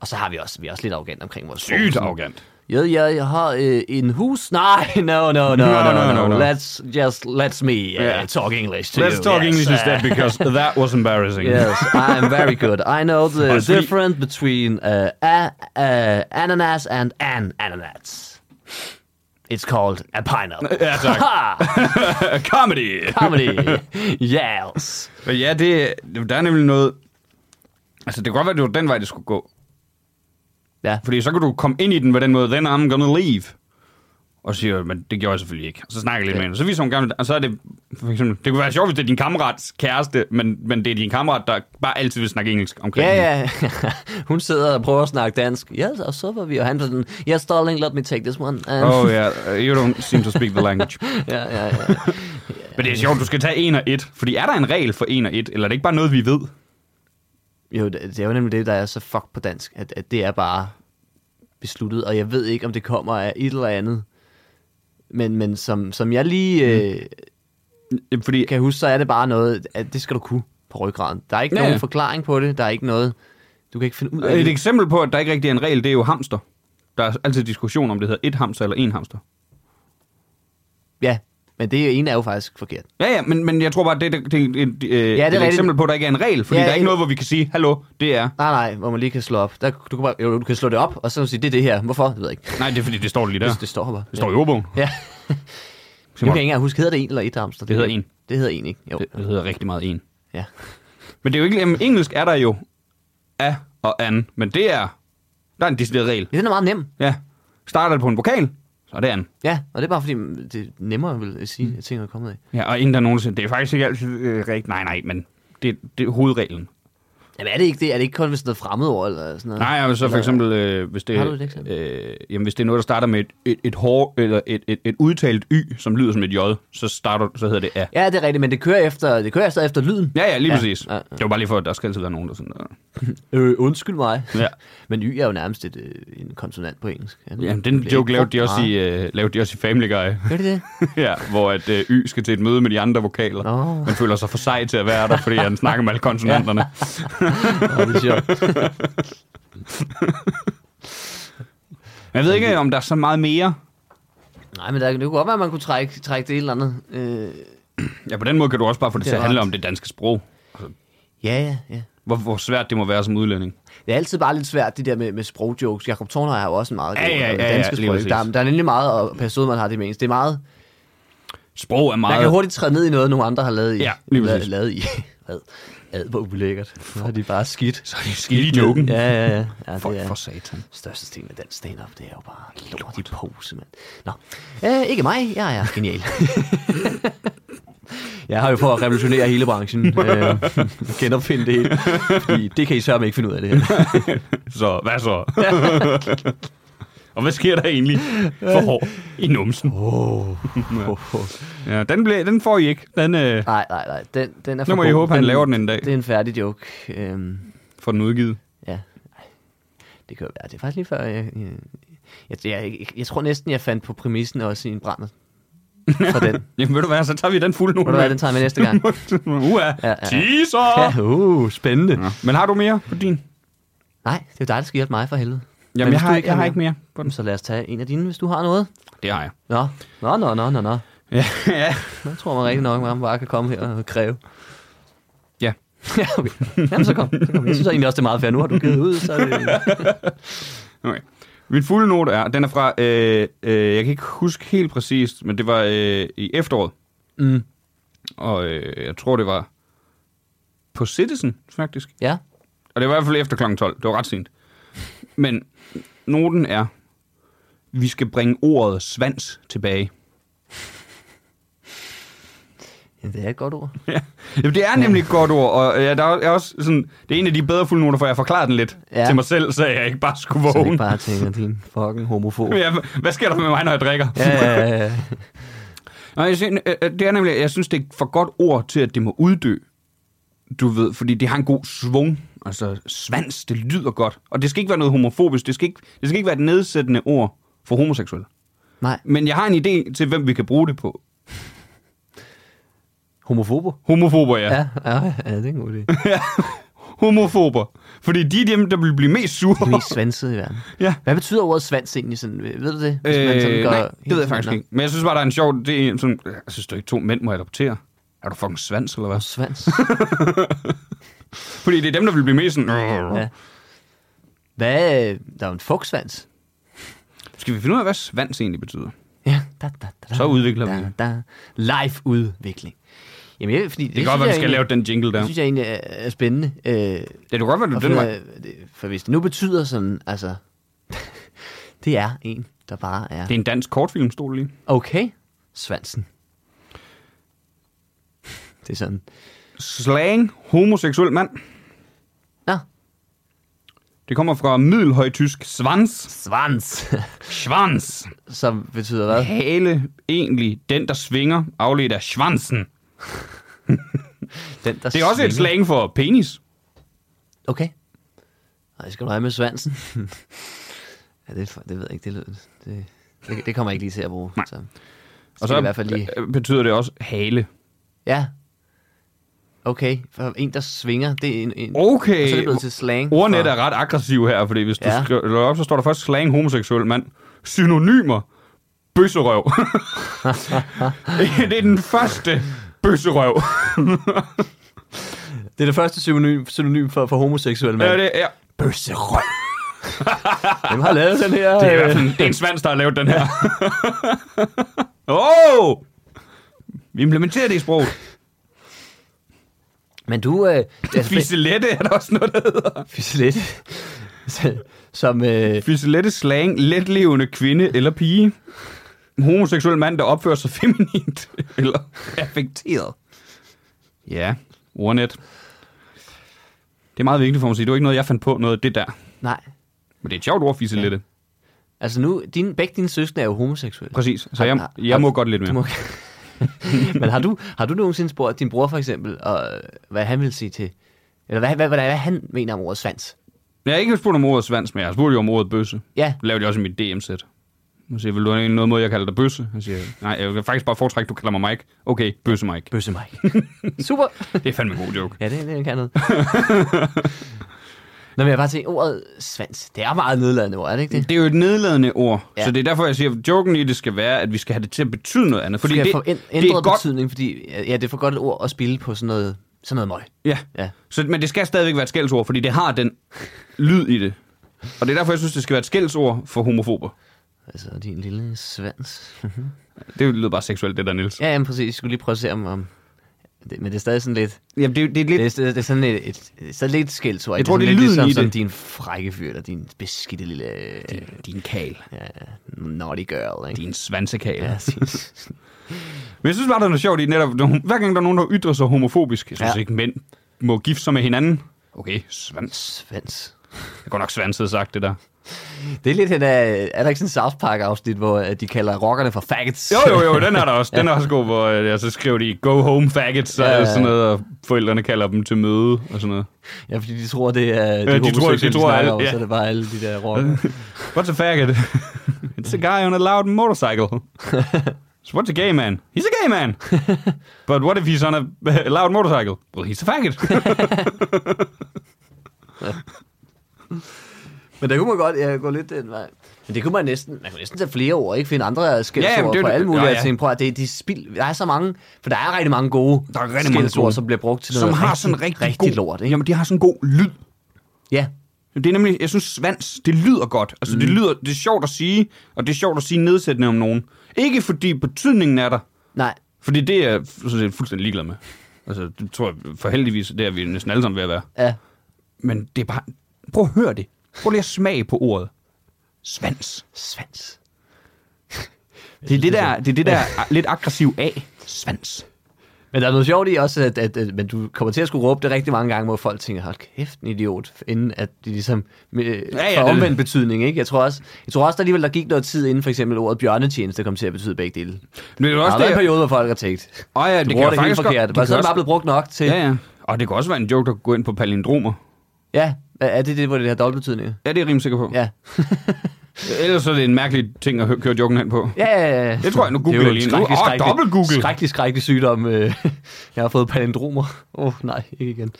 Og så har vi også, vi er også lidt arrogant omkring vores sprog. Sygt Sådan, arrogant. Ja, ja, jeg har øh, en hus. Nej, no, no, no, no, no, no, no, no. no. Let's just, let's me uh, Yeah. talk English to Let's you. talk Yes, English uh, instead, because that was embarrassing. Yes, I am very good. I know the Også fordi- difference between uh, a, uh, ananas and an ananas. It's called a pineapple. Ja, tak. Ha! Comedy! Comedy. Yes. Men ja, det, der er nemlig noget... Altså, det kan godt være, det var den vej, det skulle gå. Ja. Fordi så kan du komme ind i den på den måde, then I'm gonna leave. Og siger, men det gjorde jeg selvfølgelig ikke. Og så snakker jeg lidt Ja. med hende. Så viser hun gerne, og så er det, for eksempel, det kunne være sjovt, hvis det er din kammerats kæreste, men, men det er din kammerat, der bare altid vil snakke engelsk omkring Ja, hende. ja. Hun sidder og prøver at snakke dansk. Yes, og så var vi, og han var sådan, yes, darling, let me take this one. And, Oh yeah, uh, you don't seem to speak the language. ja, ja, ja. Men det er sjovt, du skal tage en og et. Fordi er der en regel for en og et, eller er det ikke bare noget, vi ved? Jo, det det er jo nemlig det, der er så fuck på dansk, at, at det er bare besluttet, og jeg ved ikke, om det kommer af et eller andet. Men, men som, som jeg lige øh, Fordi, kan huske, så er det bare noget, at det skal du kunne på ryggraden. Der er ikke Ja, ja. nogen ja. forklaring på det, der er ikke noget, du kan ikke finde ud af et det. eksempel på, at der ikke rigtig er en regel, det er jo hamster. Der er altid diskussion om, det hedder et hamster eller en hamster. Ja, men det ene er jo faktisk forkert. Ja, ja, men, men jeg tror bare, det, det, det, det, det, ja, er det er et rigtigt. eksempel på, at der ikke er en regel. Fordi Ja, ja, der er ikke en- noget, hvor vi kan sige, hallo, det er... Nej, nej, hvor man lige kan slå op. Der, du, kan bare, jo, du kan slå det op, og så sige, det er det her. Hvorfor? Det ved jeg ikke. Nej, det er fordi, det står lige der. Det, det står her bare. Det står i ordbogen. Ja. Nu kan jeg ikke engang huske, hedder det en eller et hamster? Det hedder en. Det hedder en, ikke? Jo. Det, det hedder rigtig meget en. Ja. Men det er jo ikke... Jamen, engelsk er der jo af og an, men det er... Der er en decideret regel. ja, den er meget nem. Ja. Starter det på en vokal, så er det an. Ja, og det er bare fordi, det er nemmere vil jeg Mm. sige, at tingene er kommet af. Ja, og inden der nogensinde... Det er faktisk ikke altid øh, rigtigt. Nej, nej, men det, det er hovedreglen. Jamen er det ikke det? Er det ikke kun, hvis det er fremmedord eller sådan noget? Nej, men så for Eller- eksempel, øh, hvis, det, Har du et eksempel? Øh, jamen, hvis det er noget, der starter med et, et, et, hår, eller et, et, et udtalt y, som lyder som et j, så, starter, så hedder det a. Ja, det er rigtigt, men det kører efter, det kører efter, efter lyden. Ja, ja, lige Ja, præcis. ja, ja. Det var bare lige for, at der skal altid være nogen, der sådan... Øh. Øh, undskyld mig. Ja. men y er jo nærmest et, øh, en konsonant på engelsk. Ja, nu Jamen, bliver den det joke ikke lavede de, brugt også i, øh, lavede de også i Family Guy, meget. Gør de det? ja, hvor at, øh, y skal til et møde med de andre vokaler. Nå. Man føler sig for sej til at være der, fordi han snakker med alle konsonanterne. Åh, det er sjovt. Men Jeg ved ikke, om der er så meget mere. Nej, men der, det kunne godt være, at man kunne trække, trække det et eller andet. Øh, Ja, på den måde kan du også bare få det, Det det til er at handle ret. om det danske sprog. ja, ja, ja. Hvor, hvor svært det må være som udlænding. Det er altid bare lidt svært, det der med, med sprogjokes. Jakob Torner har jo også en meget god Ja, ja, øh, ja, ja, danske lige sprog. præcis. Der, er- der er nemlig meget at passe ud, man har det med ens. Det er meget, Sprog er meget... Man kan hurtigt træde ned i noget, nogle andre har lavet i. Ja, lige præcis. La- lavet i. Ad, ad hvor ulækkert. Så er de bare skidt. Så er de skidt i joken. Ja, ja, ja. ja Folk det er for satan. største sten med dansk stand-up, det er jo bare lort i pose, mand. Nå, øh, ikke mig. Jeg er genial. Jeg har jo for at revolutionere hele branchen. Øh, genopfinde det hele. Fordi det kan I sørge ikke finde ud af det her. Så hvad så? Og hvad sker der egentlig for hår i numsen? Oh. Ja, den, blev, den får I ikke. Den øh, Nej, nej, nej. Den, den er for Nu må I god. håbe, han laver den en dag. Det er en færdig joke. Øhm, får den udgivet. Ja. Ej, Det kan jo være. Det er faktisk lige før, jeg, jeg, jeg, jeg, jeg tror næsten, jeg fandt på præmissen også i en brænder. For den. Jamen ved du hvad, så tager vi den fulde nu. Ved du hvad, den tager jeg med næste gang. Uha, Ja, ja, ja. ja. teaser! Ja. Ja, uh, spændende. Men har du mere på din? Nej, det er jo dig, der skal hjælpe mig for helvede. Men Jamen, hvis jeg du har, ikke, jeg har har ikke mere på Jamen, den. Så lad os tage en af dine, hvis du har noget. Det har jeg. Nå, nå, nå, nå, nå, nå. Ja, ja. Jeg tror man rigtig nok, at man bare kan komme her og kræve. ja. Ja, okay. Jamen, så kom. Så kom. Jeg synes egentlig også, det er meget fair. Nu har du givet ud, så er det... Okay. Min fulde note er, den er fra, øh, øh, jeg kan ikke huske helt præcist, men det var øh, i efteråret. Mm. Og øh, jeg tror, det var på Citizen, faktisk. Ja, Og det var i hvert fald efter kl. 12. Det var ret sent. Men noten er, vi skal bringe ordet svans tilbage. Jamen, det er et godt ord. Ja. Jamen, det er nemlig et godt ord, og ja, der er er også sådan, det er en af de bedre fulde noter, for jeg forklarer den lidt Ja. ja. til mig selv, så jeg ikke bare skulle Så jeg ikke vågne. bare tænker, din fucking homofob. Ja, hvad sker der med mig, når jeg drikker? Ja, ja, ja, ja. Nå, jeg synes, øh, øh, det er nemlig, jeg synes, det er et for godt ord til, at det må uddø. Du ved, fordi det har en god svung. Altså, svans, det lyder godt. Og det skal ikke være noget homofobisk. Det skal ikke, det skal ikke være et nedsættende ord for homoseksuelle. Nej, Men jeg har en idé til, hvem vi kan bruge det på. homofober. Homofober, ja. ja. Ja, ja, ja, det er en god idé. Homofober. Fordi de er dem, der vil blive mest sure. Det mest svansede i verden. Ja. Hvad betyder ordet svans egentlig sådan? Ved du det? Hvis man sådan Øh, går nej, det helt ved jeg faktisk sådan, ikke. Men jeg synes bare, der er en sjov... Det er sådan, jeg synes, der ikke to mænd må adoptere. Er du fucking svans, eller hvad? "Nå, Svans. Fordi det er dem, der vil blive mest sådan... "Øh, ja. Hvad? øh, Der er jo en fugtsvans. Skal vi finde ud af, hvad svans egentlig betyder? Ja. Da, da, da, da, Så udvikler vi da, det. da. Live udvikling. Jamen, jeg, fordi det, Det kan godt være, vi skal lave egentlig, den jingle der. Det synes jeg egentlig er, er spændende. Øh, det Det kan godt være, det er den vej. for hvis det nu betyder sådan, altså... det er en, der bare er... Det er en dansk kortfilm, stod der lige. Okay, svansen. Det er sådan. Slang homoseksuel mand. Nå, Det kommer fra middelhøjtysk svans. svans. Schwanz. Som betyder hvad? Hale egentlig den, der svinger, afledt af schwanzen. Den, der Det er også et svinger. slang for penis. Okay. Nej, jeg skal du have med svansen. ja, det, er for- det ved jeg ikke, det lyder... Det, det, det kommer jeg ikke lige til at bruge. Nej. Så. Og Skal så øh, i hvert fald lige- betyder det også hale. Ja. Okay, for en, der svinger, det er en... en Okay. Og så er det blevet til slang. Ordnet for- er ret aggressiv her, fordi hvis du Ja. ja. skriver op, så står der først slang homoseksuel mand. Synonymer. Bøsserøv. det er den første bøsserøv. Det er det første synonym, synonym for, for homoseksuel mand. Ja, Øh, det er, Bøsserøv. Hvem har lavet den her? det er i øh, hvert fald en- det er en svans, der har lavet den her. Åh! oh! Vi implementerer det i sproget. Men du... Øh, altså, Fiselette er der også noget, der hedder. Fiselet. Som... Øh, Fiselette slang, letlevende kvinde eller pige. En homoseksuel mand, der opfører sig feminint eller affekteret. Ja, ordnet. Det er meget vigtigt for mig at sige. Det var ikke noget, jeg fandt på noget af det der. Nej. Men det er et sjovt ordfisse ja. lidt. Altså nu, din, begge dine søskende er jo homoseksuelle. Præcis. Så Har- jeg, har- har- jeg må godt lidt Du mere. må... Men har du, har du nogensinde spurgt din bror for eksempel, og hvad han vil sige til, eller hvad, hvad, hvad, hvad han mener om ordet svans? Jeg har ikke spurgt om ordet svans, men jeg har spurgt jo om ordet bøsse. Ja, Det lavede jeg også i mit DM-sæt. Nu siger, jeg, vil du have noget måde, jeg kalder dig bøsse? Han siger, nej, jeg vil faktisk bare foretrække, du kalder mig Mike. Okay, bøsse Mike. bøsse mig. Super. Det er fandme en god joke. Ja, det, det kan noget. Nå, men jeg bare tænker, ordet svans, det er meget nedladende ord, er det ikke det? Det er jo et nedladende ord, Ja. ja. så det er derfor, jeg siger, at joken i det skal være, at vi skal have det til at betyde noget andet. Fordi Fordi det, det, for det ind, er ændret godt, betydning, fordi ja, det er for godt et ord at spille på sådan noget, sådan noget møg. ja. Ja. Så, men det skal stadigvæk være et skældsord, fordi det har den lyd i det. Og det er derfor, jeg synes, det skal være et skældsord for homofober. Altså, din lille svans. Det lyder bare seksuelt, det der, Niels. Ja. ja, jamen præcis. Jeg skulle lige prøve at se om... om det, men det er stadig sådan lidt... Jamen, det, er- det er lidt... Det er, det er sådan et, et, et så lidt skældsord. Jeg tror, det er sådan lidt lyden som, i som det. din frække fyr, eller din beskidte lille... Din, Øh, Din kal. ja, naughty girl, ikke? Din svansekal. Ja, Ja. præcis. Men jeg synes bare, det er noget sjovt i netop, når- hver gang der er nogen, der ytrer sig homofobisk. Jeg synes Ja. ja. ikke, mænd må gifte sig med hinanden. Okay, svans. Svans. Jeg har godt nok svanset sagt det der. Det er lidt en af... Er der ikke sådan en South Park-afsnit, hvor øh, de kalder rockerne for faggots? Jo, jo, jo, den er der også. Den er også god, hvor øh, ja, så skriver de, go home faggots, og Ja, ja, ja. sådan noget, og forældrene kalder dem til møde, og sådan noget. ja, fordi de tror, det er... De, de tror- de homoseksuelle, tror snakker alle- om, ja. Så er det bare alle de der rockere. What's a faggot? It's a guy on a loud motorcycle. So what's a gay man? He's a gay man. But what if he's on a, a loud motorcycle? Well, he's a faggot. Men der kunne man godt ja, gå lidt den vej. Men det kunne man næsten, man kunne næsten tage flere ord, ikke? Finde andre Ja, skældsord men det ja, er på det- alle mulige. Ja, Ja, ja. ja. Tænke, prøv at det, de spild, der er så mange, for der er rigtig mange gode Der er rigtig mange skældsord, gode. som bliver brugt til noget Som har sådan rigtig, rigtig god, lort, ikke? Jamen, de har sådan en god lyd. Ja, Det er nemlig, jeg synes, svans, det lyder godt. Altså, mm. det lyder, det er sjovt at sige, og det er sjovt at sige nedsættende om nogen. Ikke fordi betydningen er der, nej. fordi det er jeg sådan set fuldstændig ligeglad med. Altså, det tror jeg for heldigvis, det er vi næsten alle sammen ved at være. Ja. Men det er bare, prøv at høre det. Prøv lige at smage på ordet. Svans. Svans. Det er det der, det er det der lidt aggressiv af. Svans. Men der er noget sjovt i også, at, at, at men du kommer til at skulle råbe det rigtig mange gange, hvor folk tænker, hold kæft, en idiot, inden at de ligesom øh, ja, ja, ja, får det- omvendt betydning, ikke? Jeg tror også, jeg tror også der alligevel, der gik noget tid inden for eksempel ordet bjørnetjeneste kom til at betyde begge dele. Men det er jo Der også har været en det, periode, hvor folk har tænkt, Åh ja, det du kan bruger jeg det helt faktisk godt- forkert. det Var kan så er det også- bare blevet brugt nok til... ja, ja. Og det kan også være en joke, der kan gå ind på palindromer. Ja, er det det, hvor det har dobbeltbetydninger? Ja, det er jeg rimelig sikker på. Ja. Ellers er det en mærkelig ting at hø- køre joken hen på. Ja, ja, ja. Det tror jeg, nu Det er jo googler jeg en lige nu. skrækkelig, Åh, skrækkelig- dobbelt Google. Skrækkelig, skrækkelig sygdom. øh. Jeg har fået palindromer. Åh, oh, nej, ikke igen.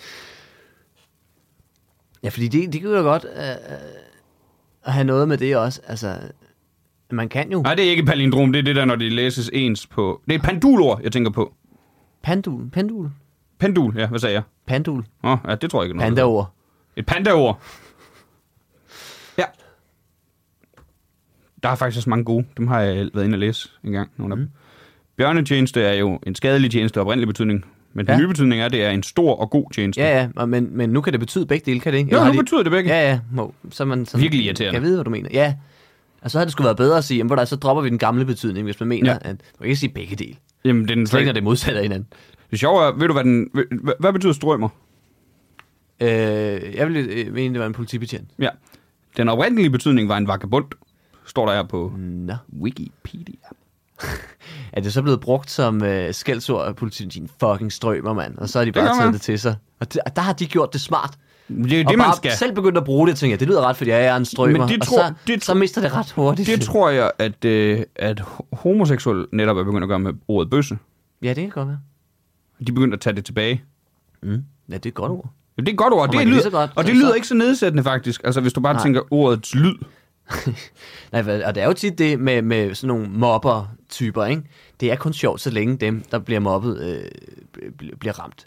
Ja, fordi det, det kunne jo godt øh, at have noget med det også. Altså, man kan jo. Nej, det er ikke palindrom. Det er det der, når det læses ens på... Det er et pandulord, jeg tænker på. Pandul, pendul, Pandul, ja. Hvad sagde jeg? pandul, Åh, ja, det tror jeg ikke noget. pandaord. Et pandaord. Ja. Der er faktisk også mange gode. Dem har jeg været inde og læse en gang. Nogle af Mhm. dem. Bjørnetjeneste er jo en skadelig tjeneste af oprindelig betydning. Men den Ja. nye betydning er, at det er en stor og god tjeneste. Ja, ja, og men, men nu kan det betyde begge dele, kan det ikke? Jo, Eller har nu betyder det begge. Ja, ja. Må, så er man sådan, Virkelig irriterende. Jeg ved, hvad du mener. Ja. Og så havde det sgu været bedre at sige, jamen, hvor der, så dropper vi den gamle betydning, hvis man mener, Ja. at man kan ikke sige begge dele. Jamen, den, Så ikke, det. når det modsatte af hinanden. det sjove er, ved du, hvad, den, hvad, hvad betyder strømmer? Øh, jeg ville øh, mene, det var en politibetjent. Ja. Den oprindelige betydning var en vagabond, står der her på Nå. Wikipedia. Er det så blevet brugt som øh, skældsord af politiet? Din fucking strømmer, mand. Og så har de bare kan det taget være. det til sig. Og, det, og der har de gjort det smart. Det er og det, bare man skal. selv begyndt at bruge det, tænker jeg, det lyder ret, fordi jeg er en strømmer. Men det og tror- så, det- så mister det ret hurtigt. Det tror jeg, at, øh, at ho- homoseksuelle netop er begyndt at gøre med ordet bøsse. Ja, det kan godt være. Mm. De er begyndt at tage det tilbage. Ja, det er et godt ord. Jamen, det er et godt ord, og man det, kan lige lyder, så godt- og det så- lyder ikke så nedsættende faktisk. Altså hvis du bare Nej. Nej. tænker ordets lyd. Nej, hvad- og det er jo tit det med, med sådan nogle mobber-typer, ikke? Det er kun sjovt, så længe dem, der bliver mobbet, øh, bl- bl- bliver ramt.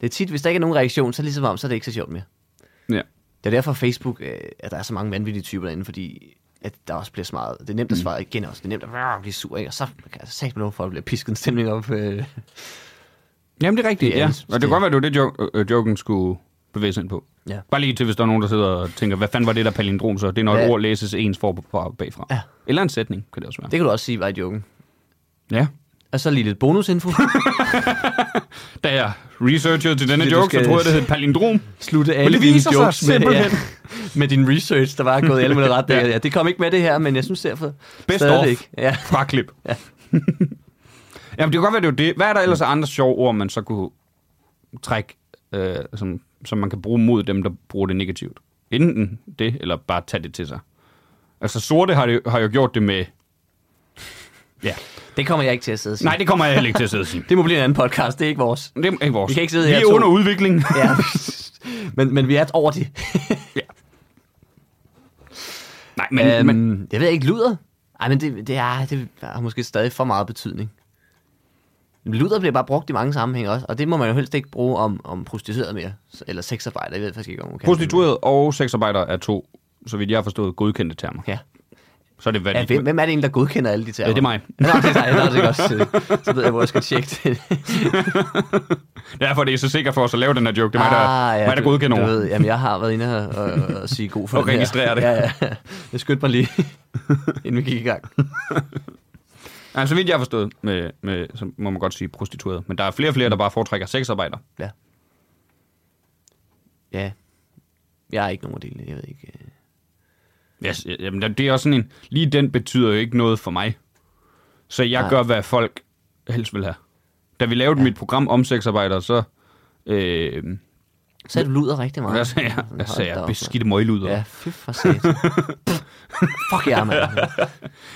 Det er tit, hvis der ikke er nogen reaktion, så er det ligesom om, så er det ikke så sjovt mere. Ja. Det er derfor Facebook, øh, at der er så mange vanvittige typer derinde, fordi at der også bliver smadret. Det er nemt at svare igen også. Det er nemt at rrr, blive sur, ikke? Og så kan altså jeg sagt med folk bliver pisket en stemning op. Øh. Jamen det er rigtigt, Det er ja. alles- Og det kan godt være, det var det, jo- øh, joken skulle bevæge sig ind på. Ja. Bare lige til, hvis der er nogen, der sidder og tænker, hvad fanden var det der palindrom så? Det er, når Ja. et ord læses ens for fra bagfra. Ja. Eller en sætning, kan det også være. Det kan du også sige, var i joken. Ja. Og så lige lidt bonusinfo. Da jeg researchede til denne Det, du joke, skal- så troede jeg, det hed palindrom. slutte alle det dine viser sig jokes med, simpelthen. med din research, der var gået i alle mulige ret. ja. ja, det kom ikke med det her, men jeg synes derfor Best stadig of. ikke. Ja. Fraklip. Ja. Jamen, det kan godt være, det er jo det. Hvad er der ellers af andre sjove ord, man så kunne trække, øh, som, som man kan bruge mod dem, der bruger det negativt? Enten det, eller bare tage det til sig. Altså, sorte har, det, har jo gjort det med... Ja. Det kommer jeg ikke til at sidde og sige. Nej, det kommer jeg heller ikke til at sidde og sige. Det må blive en anden podcast, det er ikke vores. Det er ikke vores. Vi kan ikke sidde Vi her er to. under udvikling. Ja. men, men vi er over det. Nej, men, øhm, men øhm, jeg ved ikke, luder? Ej, men det, det, er, det har måske stadig for meget betydning. Luder bliver bare brugt i mange sammenhænge også, og det må man jo helst ikke bruge om, om prostitueret mere, s- eller sexarbejder, jeg ved faktisk ikke, om man kan. prostitueret og sexarbejder er to, så vidt jeg har forstået, godkendte termer. Ja. Så er det hvad ja hvem, hvem, er det egentlig, der godkender alle de termer? Ja, det er mig. Nå, det er dig, Nå, det er også. øh, Så ved jeg, hvor jeg skal tjekke det. Derfor er det så sikkert for os at lave den her joke. Det er mig, der, ja, mig, der Ah, du- godkender du ord. ved, jamen, jeg har været inde og, og, og sige god for Og den her. registrere det. Ja, ja. Jeg skyndte mig lige, inden vi gik i gang. Ja, så vidt jeg har forstået, med, med, så må man godt sige prostitueret. Men der er flere og flere, der bare foretrækker sexarbejder. Ja. Ja. Jeg er ikke nogen af delene, jeg ved ikke. øh. Yes, ja, jamen, det er også sådan en... Lige den betyder jo ikke noget for mig. Så jeg Nej. Nej. gør, hvad folk helst vil have. Da vi lavede ja. mit program om sexarbejdere, så... Øh, Så er du luder rigtig meget. jeg sagde, jeg, Sådan, jeg, hold sagde, da jeg op, beskidte mand. møgluder. Ja, fy for satan. Fuck jer, mand.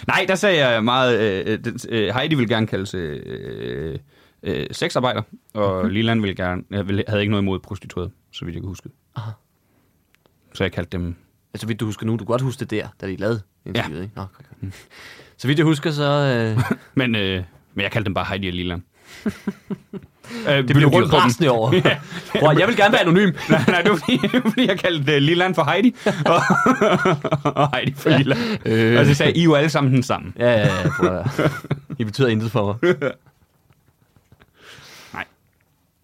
Nej, der sagde jeg meget... Øh, øh, den- øh, Heidi ville gerne kaldes øh, øh, sexarbejder, Mhm. og Lilan ville gerne, øh, ville, havde ikke noget imod prostitueret, så vidt jeg kan huske. Aha. Så jeg kaldte dem... Ah. Altså, vidt du husker nu, du kan godt huske det der, da vi lavede interviewet, Ja. ikke? Nå, godt, godt. Så vidt jeg husker, så... Øh, Men, øh, men jeg kaldte dem bare Heidi og Lilan. øh, det blev de rasende over. ja. Bror, jeg vil gerne være anonym. nej, nej, det var fordi, det var fordi jeg kaldte øh, Lilan for Heidi, og, og Heidi for Lilan. Øh. Og så sagde I er jo alle sammen den samme. Ja, ja, ja, prøv at høre. I betyder intet for mig.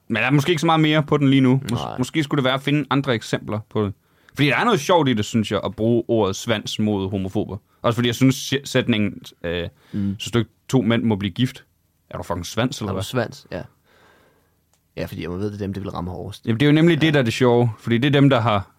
Men der er måske ikke så meget mere på den lige nu. Nej. Mås- måske skulle det være at finde andre eksempler på det. Fordi der er noget sjovt i det, synes jeg, at bruge ordet svans mod homofober. Også fordi jeg synes, sæ- sætningen, øh, mm. så stykke to mænd må blive gift. Er du fucking svans, eller Har du hvad? svans? Ja. Ja, fordi jeg må ved, det er dem, det vil ramme hårdest. Jamen, det er jo nemlig ja. det, der er det sjove. Fordi det er dem, der har...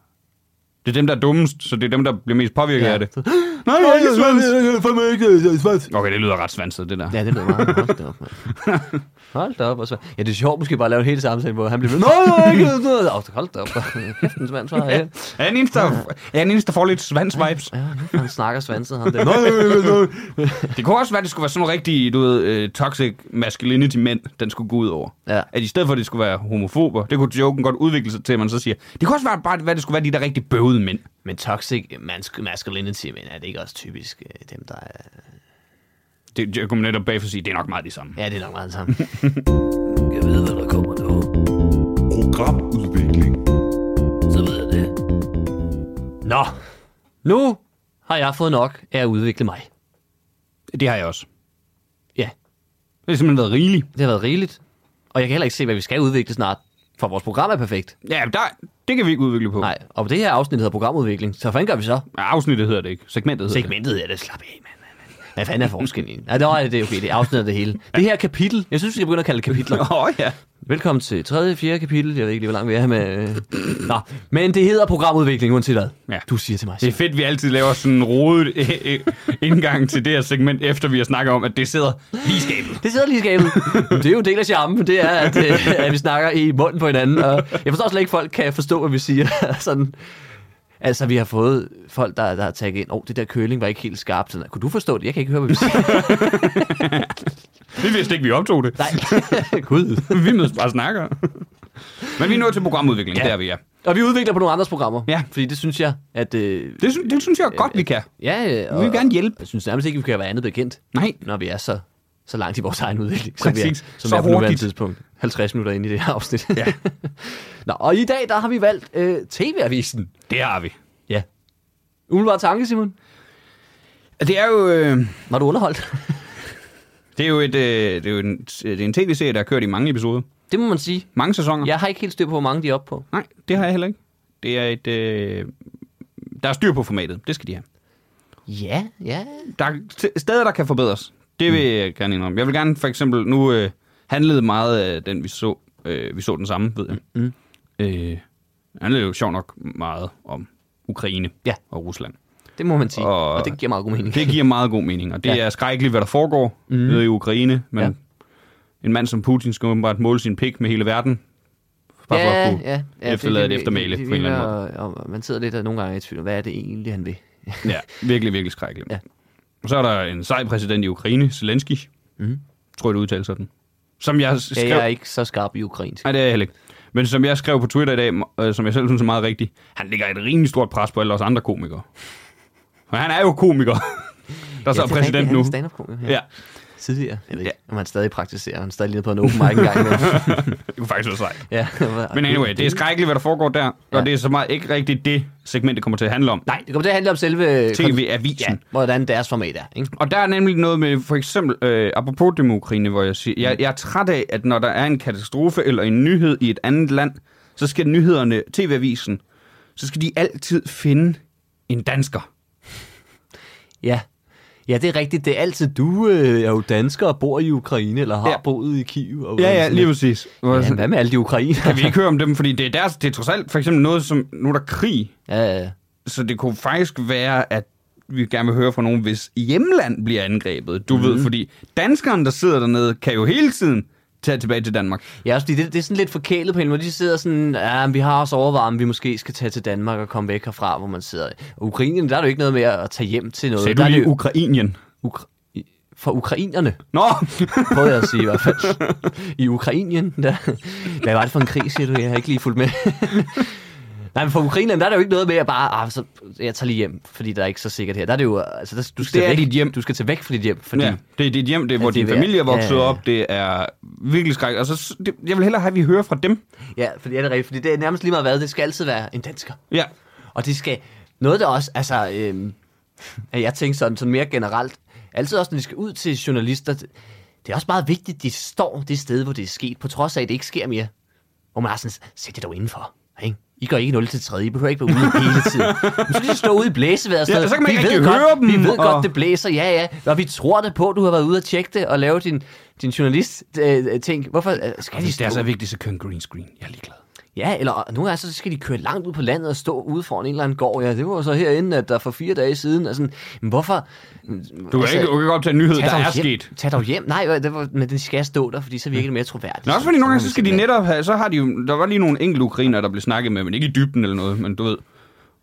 Det er dem, der er dummest, så det er dem, der bliver mest påvirket ja. af det. Nej, jeg er ikke svans! svans. Okay, det lyder ret svanset, det der. Ja, det lyder meget. Hold da op, mand. Hold da op. Og så. Ja, det er sjovt måske bare at lave en hel samtale, hvor han bliver ved. Nå, jeg er ikke. noget." Åh, Hold da op. Kæft, en svans var her. Er jeg den eneste, der, er jeg den eneste, der får lidt svans-vibes? Ja, nu han snakker svanset ham der. Nå, nå, nå, nå. Det kunne også være, at det skulle være sådan nogle rigtige, du ved, uh, toxic masculinity mænd, den skulle gå ud over. Ja. At i stedet for, at det skulle være homofober, det kunne joken godt udvikle sig til, at man så siger, det kunne også være, bare, hvad det skulle være de der rigtig bøvede mænd. Men toxic mas- masculinity, men er det ikke også typisk øh, dem, der er... Det jeg kunne man netop bagefter sige, det er nok meget det samme. Ja, det er nok meget det samme. Jeg ved, hvad der kommer nu. Programudvikling. Så ved jeg det. Nå, nu har jeg fået nok af at udvikle mig. Det har jeg også. Ja, Det har simpelthen været rigeligt. det har været rigeligt. Og jeg kan heller ikke se, hvad vi skal udvikle snart, for vores program er perfekt. Ja, men der, det kan vi ikke udvikle på. Nej, og det her afsnit hedder programudvikling, så hvad fanden gør vi så? Afsnittet hedder det ikke. Segmentet hedder Segmentet er det, slap af, mand. mand, mand. Hvad fanden er forskellen? Nej, det er det, er okay, det afsnitter det hele. Det her kapitel, jeg synes, vi skal begynde at kalde det kapitler. det. Åh oh, ja. Velkommen til tredje, fjerde kapitel. Jeg ved ikke lige, hvor langt vi er med... øh. Nå, men det hedder programudvikling, uanset hvad. Ja. Du siger til mig. Det er fedt, vi altid laver sådan en rodet øh, øh, indgang til det her segment, efter vi har snakket om, at det sidder lige i skabet. Det sidder lige i skabet. Det er jo en del af charmen, det er, at, øh, at vi snakker i munden på hinanden. Og jeg forstår slet ikke, at folk kan forstå, hvad vi siger. sådan. Altså, vi har fået folk, der, der har taget ind, åh, oh, det der køling var ikke helt skarpt. Sådan, kunne du forstå det? Jeg kan ikke høre, hvad vi siger. Vi vidste ikke, vi optog det. Nej, gud. vi mødes bare og snakker. Men vi er nået til programudvikling, ja. der er vi er. Og vi udvikler på nogle andres programmer. Ja. Fordi det synes jeg, at... Øh, Det, sy- det synes jeg godt, vi kan. ja, øh, Vi vil gerne hjælpe. Jeg synes nærmest ikke, vi kan være andet bekendt, Nej, når vi er så, så langt i vores egen udvikling, vi er, Præcis. som Så vi er på nuværende hurtigt. tidspunkt. 50 minutter ind i det her afsnit. Ja. Nå, og i dag, der har vi valgt øh, TV-avisen. det har vi. Ja. Umiddelbart tanke, Simon. Det er jo, øh, Var du underholdt? det er jo, et, øh, det er jo en, det er en tv-serie, der har kørt i mange episoder. det må man sige. Mange sæsoner. Jeg har ikke helt styr på, hvor mange de er oppe på. Nej, det har jeg heller ikke. Det er et... Øh, der er styr på formatet. Det skal de have. Ja, ja. Der er st- steder, der kan forbedres. Det vil jeg gerne indrømme. Jeg vil gerne for eksempel nu... Øh, handlede meget af den, vi så. Øh, vi så den samme, ved jeg. Mm. Øh, handlede jo sjovt nok meget om Ukraine Ja. og Rusland. Det må man sige, og, Og- og det giver meget god mening. Det giver meget god mening, og det Ja. ja. er skrækkeligt, hvad der foregår mm. nede i Ukraine, men Ja. ja. en mand som Putin skal åbenbart måle sin pik med hele verden, bare for at kunne efterlade et eftermæle på en eller anden måde. måde. Og, og man sidder lidt og nogle gange i tvivl, hvad er det egentlig, han vil? Ja, virkelig, virkelig skrækkeligt. Ja. Ja. Og så er der en sej præsident i Ukraine, Zelensky, Mhm. mm. tror jeg, det udtaler sådan, som jeg skrev... Ja, jeg er ikke så skarp i ukrainsk. Nej, det er jeg heller ikke. Men som jeg skrev på Twitter i dag, øh, som jeg selv synes er meget rigtigt, han lægger et rimelig stort pres på alle os andre komikere. Og han er jo komiker, der så ja, er præsident rigtigt, nu. Han er stand Ja, Tidligere. Jeg ved ikke, Ja. om han stadig praktiserer. Han er stadig nede på en open mic engang. Men, det kunne faktisk være sejt. ja. Men anyway, det er skrækkeligt, hvad der foregår der, Ja. ja. og det er så meget ikke rigtigt det segment, det kommer til at handle om. Nej, det kommer til at handle om selve... TV-avisen. Ja, hvordan deres format er. Ikke? Og der er nemlig noget med, for eksempel, øh, apropos det med Ukraine, hvor jeg siger, jeg, jeg er træt af, at når der er en katastrofe eller en nyhed i et andet land, så skal nyhederne, TV-avisen, så skal de altid finde en dansker. Ja. Ja, det er rigtigt. Det er altid, du øh, er jo dansker og bor i Ukraine, eller har ja. Ja. boet i Kiev. Og Ja, og ja, sådan lige lidt. præcis. Hvor jeg Ja, sådan, hvad med alle de ukrainer? Kan vi ikke høre om dem, fordi det er, deres, det er trods alt for eksempel noget, som nu er der krig, Ja, ja, ja. så det kunne faktisk være, at vi gerne vil høre fra nogen, hvis hjemland bliver angrebet. Du mm. Mhm. ved, fordi danskeren, der sidder dernede, kan jo hele tiden tage tilbage til Danmark. Ja, også fordi det, det er sådan lidt forkælet på en måde. De sidder sådan, ja, men vi har også overvarme, vi måske skal tage til Danmark og komme væk herfra, hvor man sidder. Og Ukrainien, der er det jo ikke noget med at tage hjem til noget. Sagde du der er det lige jo Ukrainien? ukra- for ukrainerne, Nå! prøvede jeg at sige i hvert fald. I Ukrainien, der... Hvad var det for en krig, siger du? Jeg har ikke lige fulgt med. Nej, men for ukrainerne, der er det jo ikke noget med at bare, ah, så jeg tager lige hjem, fordi der er ikke så sikkert her. Der er det jo, altså, der, du skal Det er væk, dit hjem. Du skal tage væk fra dit hjem, fordi... ja, det er dit hjem, det er, hvor det er din ved- familie er vokset ja, ja, ja. op. Det er virkelig skræk. Altså, s- det, jeg vil hellere have, at vi hører fra dem. Ja, fordi, ja, det er rigtigt, fordi det er nærmest lige meget hvad, det skal altid være en dansker. Ja. Og det skal... Noget der også, altså... Øh, jeg tænker sådan, sådan mere generelt. Altid også, når de skal ud til journalister. Det er også meget vigtigt, de står det sted, hvor det er sket, på trods af, at det ikke sker mere. Hvor man har sådan, sæt det dog indenfor. Ikke? I går ikke 0 til 3, I behøver ikke være ude hele tiden. Nu skal de stå ude i blæsevejret. Ja, så kan man vi ikke ved rigtig godt, høre dem, Vi ved og... og- godt, det blæser, ja, ja. Og vi tror det på, du har været ude og tjekke det og lave din, din journalist-ting. Hvorfor øh, skal de Hvis Altså, stå? det er så vigtigt, så kører en green screen. Jeg er ligeglad. Ja, eller og nu er så skal de køre langt ud på landet og stå ude foran en eller anden gård. Ja, det var jo så herinde, at der for fire dage siden. Altså, men hvorfor? Du kan, altså, ikke, du kan godt tage en nyhed, der dog er hjem, sket. Tag dog hjem. Nej, det var, men den skal stå der, fordi så virker det mere troværdigt. Nå, også fordi nogle gange, så skal de netop have, så har de jo, der var lige nogle enkelte ukrainer, der blev snakket med, men ikke i dybden eller noget, men du ved,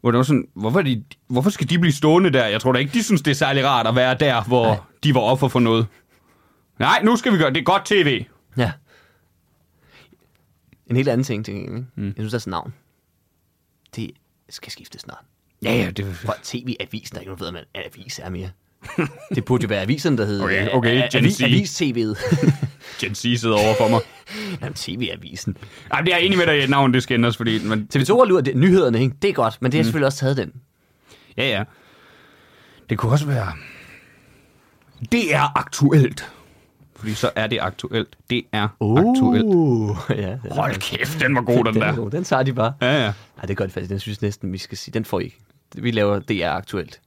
hvor det var sådan, hvorfor, er de, hvorfor skal de blive stående der? Jeg tror da ikke, de synes, det er særlig rart at være der, hvor Nej. de var offer for noget. Nej, nu skal vi gøre det. er godt tv. Ja. En helt anden ting, tænker jeg. ikke? Mm. Jeg synes, deres navn. Det skal skifte snart. Ja, ja, det For tv-avisen, der er ikke nogen, der ved, hvad en avis er mere. Det burde jo være avisen, der hedder Okay, okay, Gen Z. avis-tv'et. Gen Z sidder over for mig. Jamen, tv-avisen. Ej, det er jeg enig med dig i, at navnet det skal ændres, fordi... Men, TV2 har luret det- nyhederne, ikke? Det er godt, men det har selvfølgelig også taget den. ja, ja. Det kunne også være... Det er aktuelt. Fordi så er det aktuelt. Det er aktuelt. ja, den er- Hold kæft, den var god, den Oh. den, er der. god. den tager de bare. Ja, ja. Nej, det gør det faktisk. Den synes jeg næsten, vi skal sige. Den får I ikke. Vi laver DR aktuelt.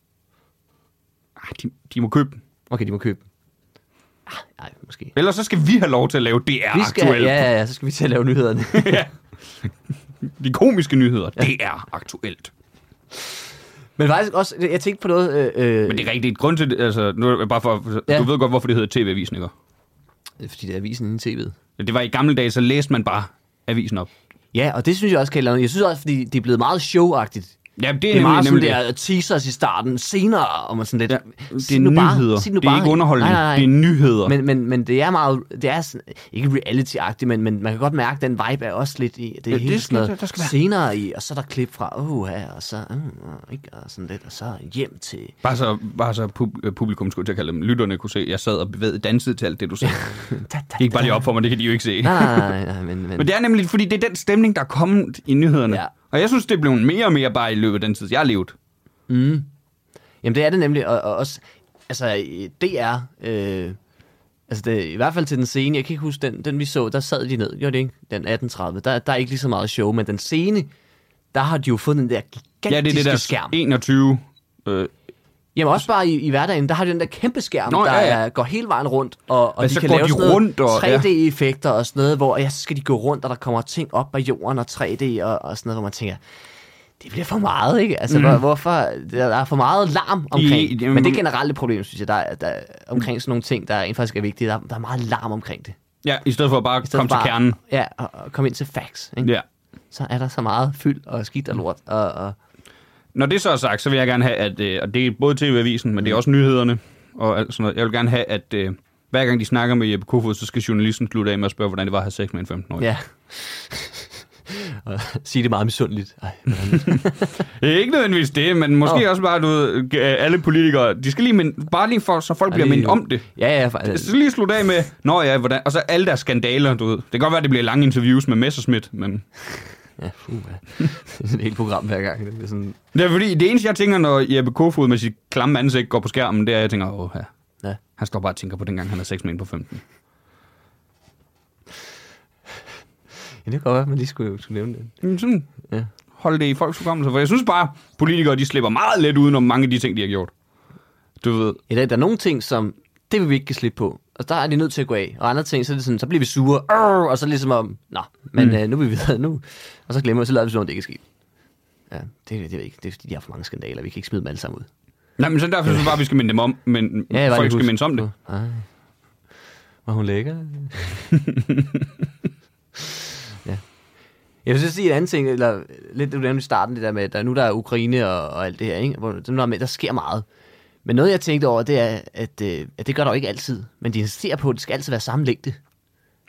Ej, de, de må købe den. Okay, de må købe den. Ah, Nej, måske. Ellers så skal vi have lov til at lave DR Vi skal, aktuelt. ja, ja, ja, så skal vi til at lave nyhederne. De komiske nyheder, det er aktuelt. men faktisk også, jeg tænkte på noget... Øh, øh, Men det er rigtigt. Grund til det, altså, nu er det bare for, Ja. ja. du ved godt, hvorfor det hedder TV-avisen, ikke? Fordi det er avisen inde i tv'et. Det var i gamle dage, så læste man bare avisen op. Ja, og det synes jeg også kan lave. Jeg synes også, fordi det er blevet meget showagtigt. Ja, det er, Det er meget sådan nemlig, der teasers i starten, senere, og man sådan lidt... Ja, sig det er nu bare- nyheder. sig nu det er bare- ikke underholdning. Nej, nej, nej. Det er nyheder. Men, Men, men, men det er meget, det er sådan- ikke reality-agtigt, men, men man kan godt mærke, at den vibe er også lidt i, det er Ja, ja, helt det skal- sådan noget der skal være- senere i, og så er der klip fra, uh, ja, og så, uh, og ikke, og sådan lidt, og så hjem til, bare så, bare så pub- øh, publikum skulle jeg til at kalde dem. Lytterne kunne se, at jeg sad og bevægede dansede til alt det, du sagde. da, da, Det gik bare lige op for mig, det kan de jo ikke se. Nej, nej, nej, nej, men, men, Men det er nemlig, fordi det er den stemning, der er kommet i nyhederne. Ja. Og jeg synes, det blev mere og mere bare i løbet af den tid, jeg har levet. jamen det er det nemlig, og, og også, altså, øh, DR, øh, altså det, i hvert fald til den scene, jeg kan ikke huske den, den vi så, der sad de ned, jo det ikke, den 18.30, der, der er ikke lige så meget show, men den scene, der har de jo fået den der gigantiske Ja, det er det der skærm. 21 øh, Jamen også bare i, i hverdagen, der har de den der kæmpe skærm, Nå, Nå, der ja, ja, ja. ja. Er, går hele vejen rundt, og, og Men de så kan går lave de sådan rundt, og- ja. 3D-effekter og sådan noget, hvor ja, så skal de gå rundt, og der kommer ting op af jorden og 3D og, og sådan noget, hvor man tænker, det bliver for meget, ikke? Altså, mm. hvorfor? Der der er for meget larm omkring. I, I- jamen- Men det er generelt et problem, synes jeg, der, er- der er omkring sådan nogle ting, der egentlig faktisk er vigtige. Der, er- der er meget larm omkring det. Ja, i stedet for bare I at stedet komme for til bare- kernen. Ja, og, og komme ind til facts, ikke? Ja. Så er der så meget fyld og skidt og lort. Og, og, Når det så er sagt, så vil jeg gerne have, at, øh, og det er både TV-avisen, men det er også nyhederne og alt sådan noget. Jeg vil gerne have, at øh, hver gang de snakker med Jeppe Kofod, så skal journalisten slutte af med at spørge, hvordan det var at have sex med en 15-årig. ja. og sige det meget misundeligt. Ej, hvordan Ja. Ikke nødvendigvis det, men måske Nå. også bare, du ved, øh, alle politikere, de skal lige minde, bare lige for, så folk bliver mindet om det. Ja, ja. For, altså, Så lige slutte af med, nå ja, hvordan, og så alle deres skandaler, du ved. Det kan godt være, at det bliver lange interviews med Messerschmidt, men... ja, puh, ja. Det er sådan et helt program hver gang. Det er sådan, Det er fordi, det eneste, jeg tænker, når Jeppe Kofod med sit klamme ansigt går på skærmen, det er, at jeg tænker, åh, ja. ja. han står bare og tænker på dengang, han havde sex med en på 15. ja, det kan godt være, at man lige skulle, skulle nævne det. Jamen, Sådan, Ja. hold det i folks hukommelse, for jeg synes bare, politikere, de slipper meget let udenom mange af de ting, de har gjort. Du ved, Ja, der, der er nogle ting, som det vil vi ikke give slip på. Og der er de nødt til at gå af. Og andre ting, så er det sådan, så bliver vi sure. Arr, og så ligesom om, nå, men mm. øh, nu er vi videre nu. Og så glemmer vi, så lader vi sådan, at det ikke er sket. Ja, det, det, det, ikke. det er fordi, de har for mange skandaler. Vi kan ikke smide dem alle sammen ud. nej, men så derfor synes jeg bare, vi skal minde dem om, men jeg ja, var folk lige skal huske- mindes om det. Ej. Var hun lækker? ja. Jeg vil så sige en anden ting, eller lidt det, du nævnte i starten, det der med, at der, nu der er Ukraine og, og alt det her, ikke? Hvor, det er noget med, der sker meget. Men noget, jeg tænkte over, det er, at, øh, at det gør der jo ikke altid. Men de insisterer på, at det skal altid være samme længde.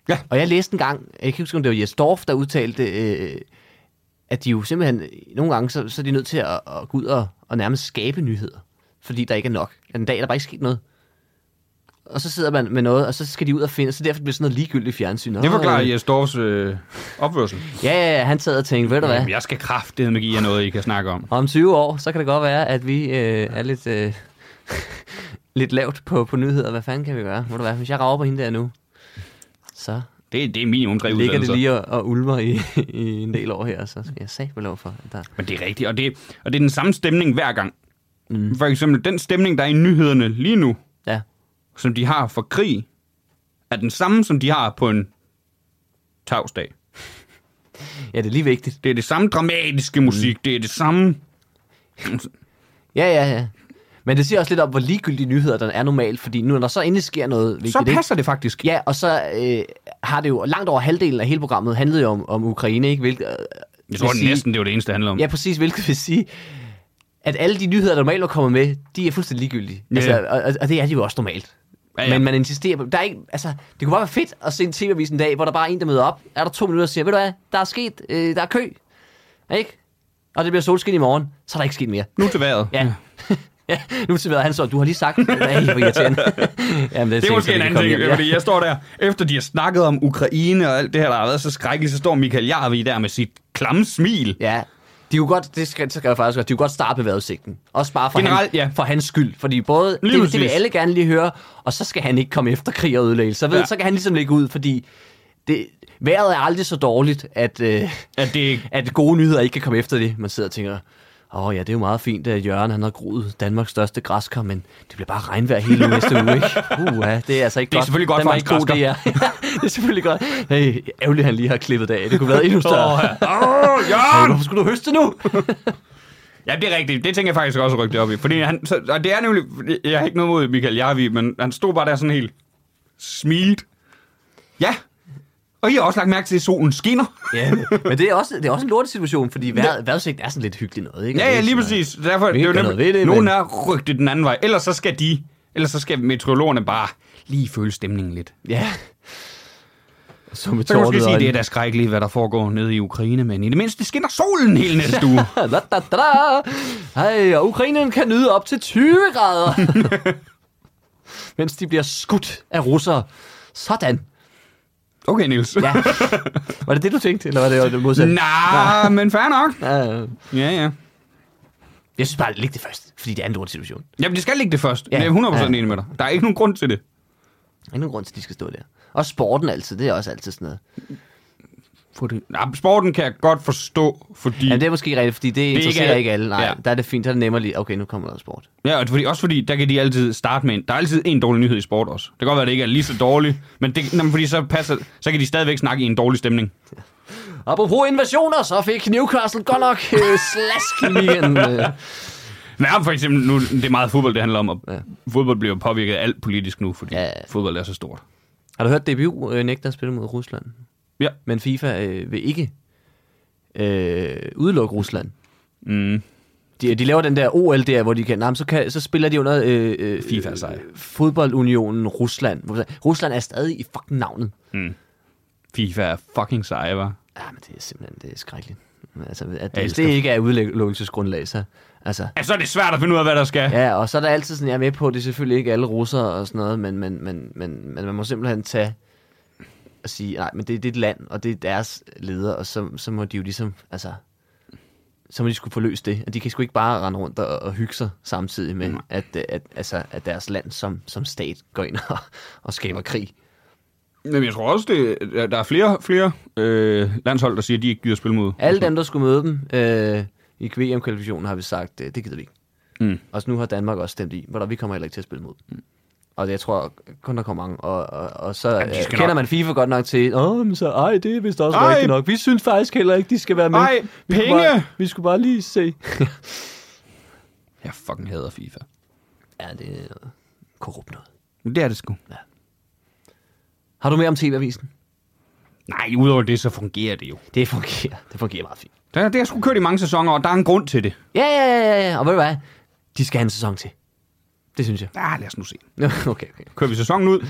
Ja. Og jeg læste en gang, jeg kan ikke huske, om det var Jes Dorf, der udtalte, øh, at de jo simpelthen, nogle gange, så, så er de nødt til at, at gå ud og, og nærmest skabe nyheder. Fordi der ikke er nok. En dag er der bare ikke sket noget. Og så sidder man med noget, og så skal de ud og finde, så derfor bliver sådan noget ligegyldigt fjernsyn. Det Åh, forklarer øh, Jes Dorfs øh, opførsel. Ja, ja, ja, han sad og tænkte, ved du hvad, Jamen, jeg skal kraftedeme give jer noget, I kan snakke om. om 20 år, så kan det godt være, at vi øh, er lidt, øh, lidt lavt på, på nyheder. Hvad fanden kan vi gøre? Må du være, hvis jeg rager på hende der nu, så Det, det er minimum tre ligger det udsendelser. lige og, og ulmer i, i en del år her, så skal jeg sagt lov for, at der... Men det er rigtigt, og det, og det er den samme stemning hver gang. Mm. For eksempel, den stemning, der er i nyhederne lige nu, Ja, som de har for krig, er den samme, som de har på en tavsdag. ja det er lige vigtigt. Det er det samme dramatiske musik, mm. det er det samme... Ja, ja, ja. Men det siger også lidt om, hvor ligegyldige nyheder der er normalt, fordi nu, når der så endelig sker noget vigtigt, Så ikke? passer det faktisk. Ja, og så øh, har det jo langt over halvdelen af hele programmet handlede jo om, om Ukraine, ikke? Hvilket, øh, Jeg vil tror sige- næsten, det var det eneste, det handler om. Ja, præcis, hvilket vil sige, at alle de nyheder, der normalt var kommet med, de er fuldstændig ligegyldige. Ja. Altså, og, og- og, det er de jo også normalt. Ja, ja. Men man insisterer på, der er ikke, altså, det kunne bare være fedt at se en tv-avis en dag, hvor der bare er en, der møder op, er der to minutter og siger, ved du hvad, der er sket, øh, der er kø, ikke? Og det bliver solskin i morgen, så er der ikke sket mere. Nu til vejret. Ja. ja. Nu til hvad han så, du har lige sagt, det er helt for irriterende. Jamen, Det er måske en anden ting, hjem, fordi jeg står der, efter de har snakket om Ukraine og alt det her, der har været så skrækkeligt, så står Michael Jarvi der med sit klamme smil. Ja. De kunne godt, det skal, så skal jeg faktisk godt, de kunne godt starte med vejrudsigten. Også bare for, Generelt, han, ja. for hans skyld. Fordi både, det, Lige det, vil præcis. alle gerne lige høre, og så skal han ikke komme efter krig og ødelæggelse. Så, ved, Ja. så kan han ligesom ligge ud, fordi det, vejret er aldrig så dårligt, at, øh, At det, at gode nyheder ikke kan komme efter det. Man sidder og tænker, åh oh, ja, det er jo meget fint, at Jørgen han har groet Danmarks største græskar, men det bliver bare regnvejr hele næste uge, ikke? Uh, ja, det er altså ikke Det er godt. selvfølgelig godt Den for var hans ikke god, det er. det er selvfølgelig godt. Hey, ærgerligt, han lige har klippet det af. Det kunne have været endnu større. Åh, ja. Åh, Jørgen! Hvorfor skulle du høste nu? Ja, det er rigtigt. Det tænker jeg faktisk også at rykke det op i. Fordi han, så, og det er nemlig, jeg har ikke noget mod Michael Jarvi, men han stod bare der sådan helt smilt. Ja, og I har også lagt mærke til, at solen skinner. ja, men det er også, det er også en lortet situation, fordi vejr, vejrudsigt er sådan lidt hyggelig noget, ikke? Ja, Og det ja, er lige sådan, præcis. Derfor, Vi det er jo kan nemlig, noget ved det, nogen men- er rygt den anden vej. Ellers så skal de, ellers så skal meteorologerne bare lige føle stemningen lidt. Ja. Så med Så kan man måske tårnet sige, og det er en- da skrækkeligt, hvad der foregår nede i Ukraine, men i det mindste skinner solen hele næste uge. Da, da, da, da. Hej, og Ukrainien kan nyde op til 20 grader. Mens de bliver skudt af russere. Sådan. Okay, Niels. Ja. Var det det, du tænkte, eller var det det modsatte? Nej, men fair nok. Ja, ja. Ja, ja. Jeg synes bare, læg det først, fordi det er en lort situation. Der Jamen, det skal ligge det først. Ja. Jeg er 100% Ja. enig med dig. Der er ikke nogen grund til det. er ingen grund til, at de skal stå der. Og sporten altid, det er også altid sådan noget. på det. Ja, sporten kan jeg godt forstå, fordi... Ja, Ja, det er måske rigtigt, fordi det, det ikke interesserer ikke alle. alle. Nej, Ja. ja. der er det fint, der er det nemmere lige. Okay, nu kommer der sport. ja og fordi, også fordi, der kan de altid starte med en... Der er altid en dårlig nyhed i sport også. Det kan godt være, at det ikke er lige så dårligt, men det, jamen, fordi så, passer, så kan de stadigvæk snakke i en dårlig stemning. Apropos invasioner, så fik Newcastle godt nok øh, slask i weekenden. Øh. Men ja, for eksempel, nu, det er meget fodbold, det handler om, og ja. Ja. fodbold bliver påvirket af alt politisk nu, fordi Ja, ja. ja. fodbold er så stort. Har du hørt, DBU øh, nægter at spille mod Rusland? Ja. Men FIFA øh, vil ikke øh, udelukke Rusland. Mm. De, de laver den der OL der, hvor de kan, nah, så, kan så spiller de under øh, øh, FIFA er sej. øh, fodboldunionen Rusland. Hvor- Rusland er stadig i fucking navnet. FIFA er fucking sej, hva'? Ja, men det er simpelthen det er skrækkeligt. Altså, at det, Jeg hvis elsker- det ikke er udelukkelsesgrundlag, så... Altså, Ja, så er det svært at finde ud af, hvad der skal. Ja. ja, og så er der altid sådan, jeg er med på, at det er selvfølgelig ikke alle russere og sådan noget, men, men, men, men, men man må simpelthen tage og sige, nej, men det er dit land, og det er deres leder, og så, så må de jo ligesom, altså, så må de skulle forløse det. Og de kan sgu ikke bare rende rundt og, og hygge sig samtidig med, at, øh, at, altså, at deres land som, som stat går ind og, og skaber krig. Men jeg tror også, det, der- der er flere, flere øh, landshold, der siger, at de ikke gider spille mod. Alle dem, der skulle møde dem øh, i VM-kvalifikationen, har vi sagt, øh, det gider vi ikke. Mm. Og så nu har Danmark også stemt i, hvor der, vi kommer heller ikke til at spille mod. Mm. Og jeg tror kun, der kommer mange. Og, og, og så Jamen, de skal kender nok- man FIFA godt nok til, åh, men så, ej, det er vist også Ej. ej. rigtigt nok. Vi synes faktisk heller ikke, de skal være med. Ej, vi skulle penge. Bare, vi skulle bare lige se. Jeg fucking hader FIFA. ja, det er noget korrupt noget. Men det er det sgu. Har du mere om TV-avisen? Nej, udover det, så fungerer det jo. Det fungerer. Det fungerer meget fint. Det, det har sgu kørt i mange sæsoner, og der er en grund til det. Ja, ja, ja, ja, ja. Og ved du hvad? De skal have en sæson til. Det synes jeg. Ja, lad os nu se. okay, okay. Kører vi sæsonen ud,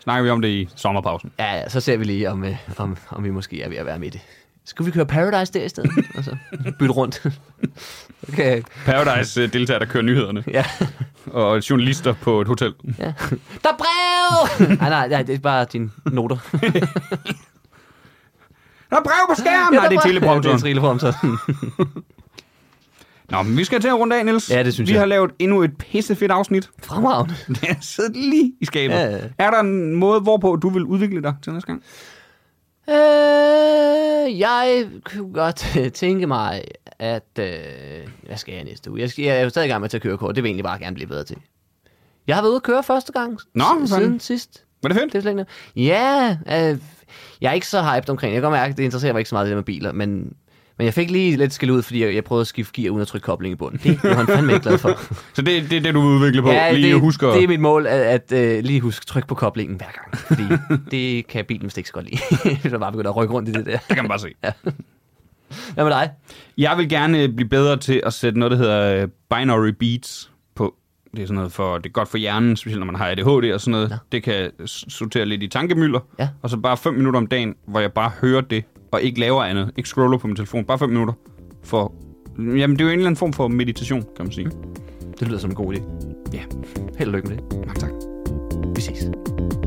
snakker vi om det i sommerpausen. Ja, ja, så ser vi lige, om, øh, om, om vi måske er ved at være med i det. Skal vi køre Paradise der i stedet? Og så bytte rundt. okay. Paradise øh, deltager, der kører nyhederne, Ja. og journalister på et hotel. ja. Der er brev! nej, nej, nej, det er bare dine noter. Der er brev på skærmen! Ja, Nej, der det er brev. Ja, teleprompteren. det er teleprompteren. Nå, men vi skal til at runde af, Niels. Ja, det synes vi jeg. har lavet endnu et pissefedt afsnit. Fremragende. Det er siddet lige i skabet. Ja, ja. Er der en måde, hvorpå du vil udvikle dig til næste gang? Øh, jeg kunne godt øh, tænke mig, at... Øh, hvad skal jeg næste uge? Jeg, skal, jeg er jo stadig i gang med at tage kørekort. Det vil jeg egentlig bare gerne blive bedre til. Jeg har været ude at køre første gang s- Nå, for fanden. siden sidst. Var det fedt? Det er slet ikke noget. Ja, øh, jeg er ikke så hyped omkring det. Jeg kan godt mærke, at det interesserer mig ikke så meget, det der med biler, men, men jeg fik lige lidt skæld ud, fordi jeg, jeg prøvede at skifte gear uden at trykke koblingen i bunden. Det var han fandme ikke glad for. Så det, det er det, du vil udvikle på. Ja, lige det, det, husker. det er mit mål, at, at uh, lige huske at trykke på koblingen hver gang, fordi det kan bilen vist ikke så godt lide. så er bare begyndt at rykke rundt i det der. det kan man bare se. Hvad med dig? Jeg vil gerne øh, blive bedre til at sætte noget, der hedder øh, binary beats på. Det er sådan noget for, det er godt for hjernen, specielt når man har ADHD og sådan noget. Nå. Det kan s- sortere lidt i tankemylder. Ja. Og så bare 5 minutter om dagen, hvor jeg bare hører det, og ikke laver andet. Ikke scroller på min telefon. Bare 5 minutter. For, jamen, det er jo en eller anden form for meditation, kan man Mm. sige. Det lyder som en god idé. Ja. Held og lykke med det. Mange tak. Vi ses.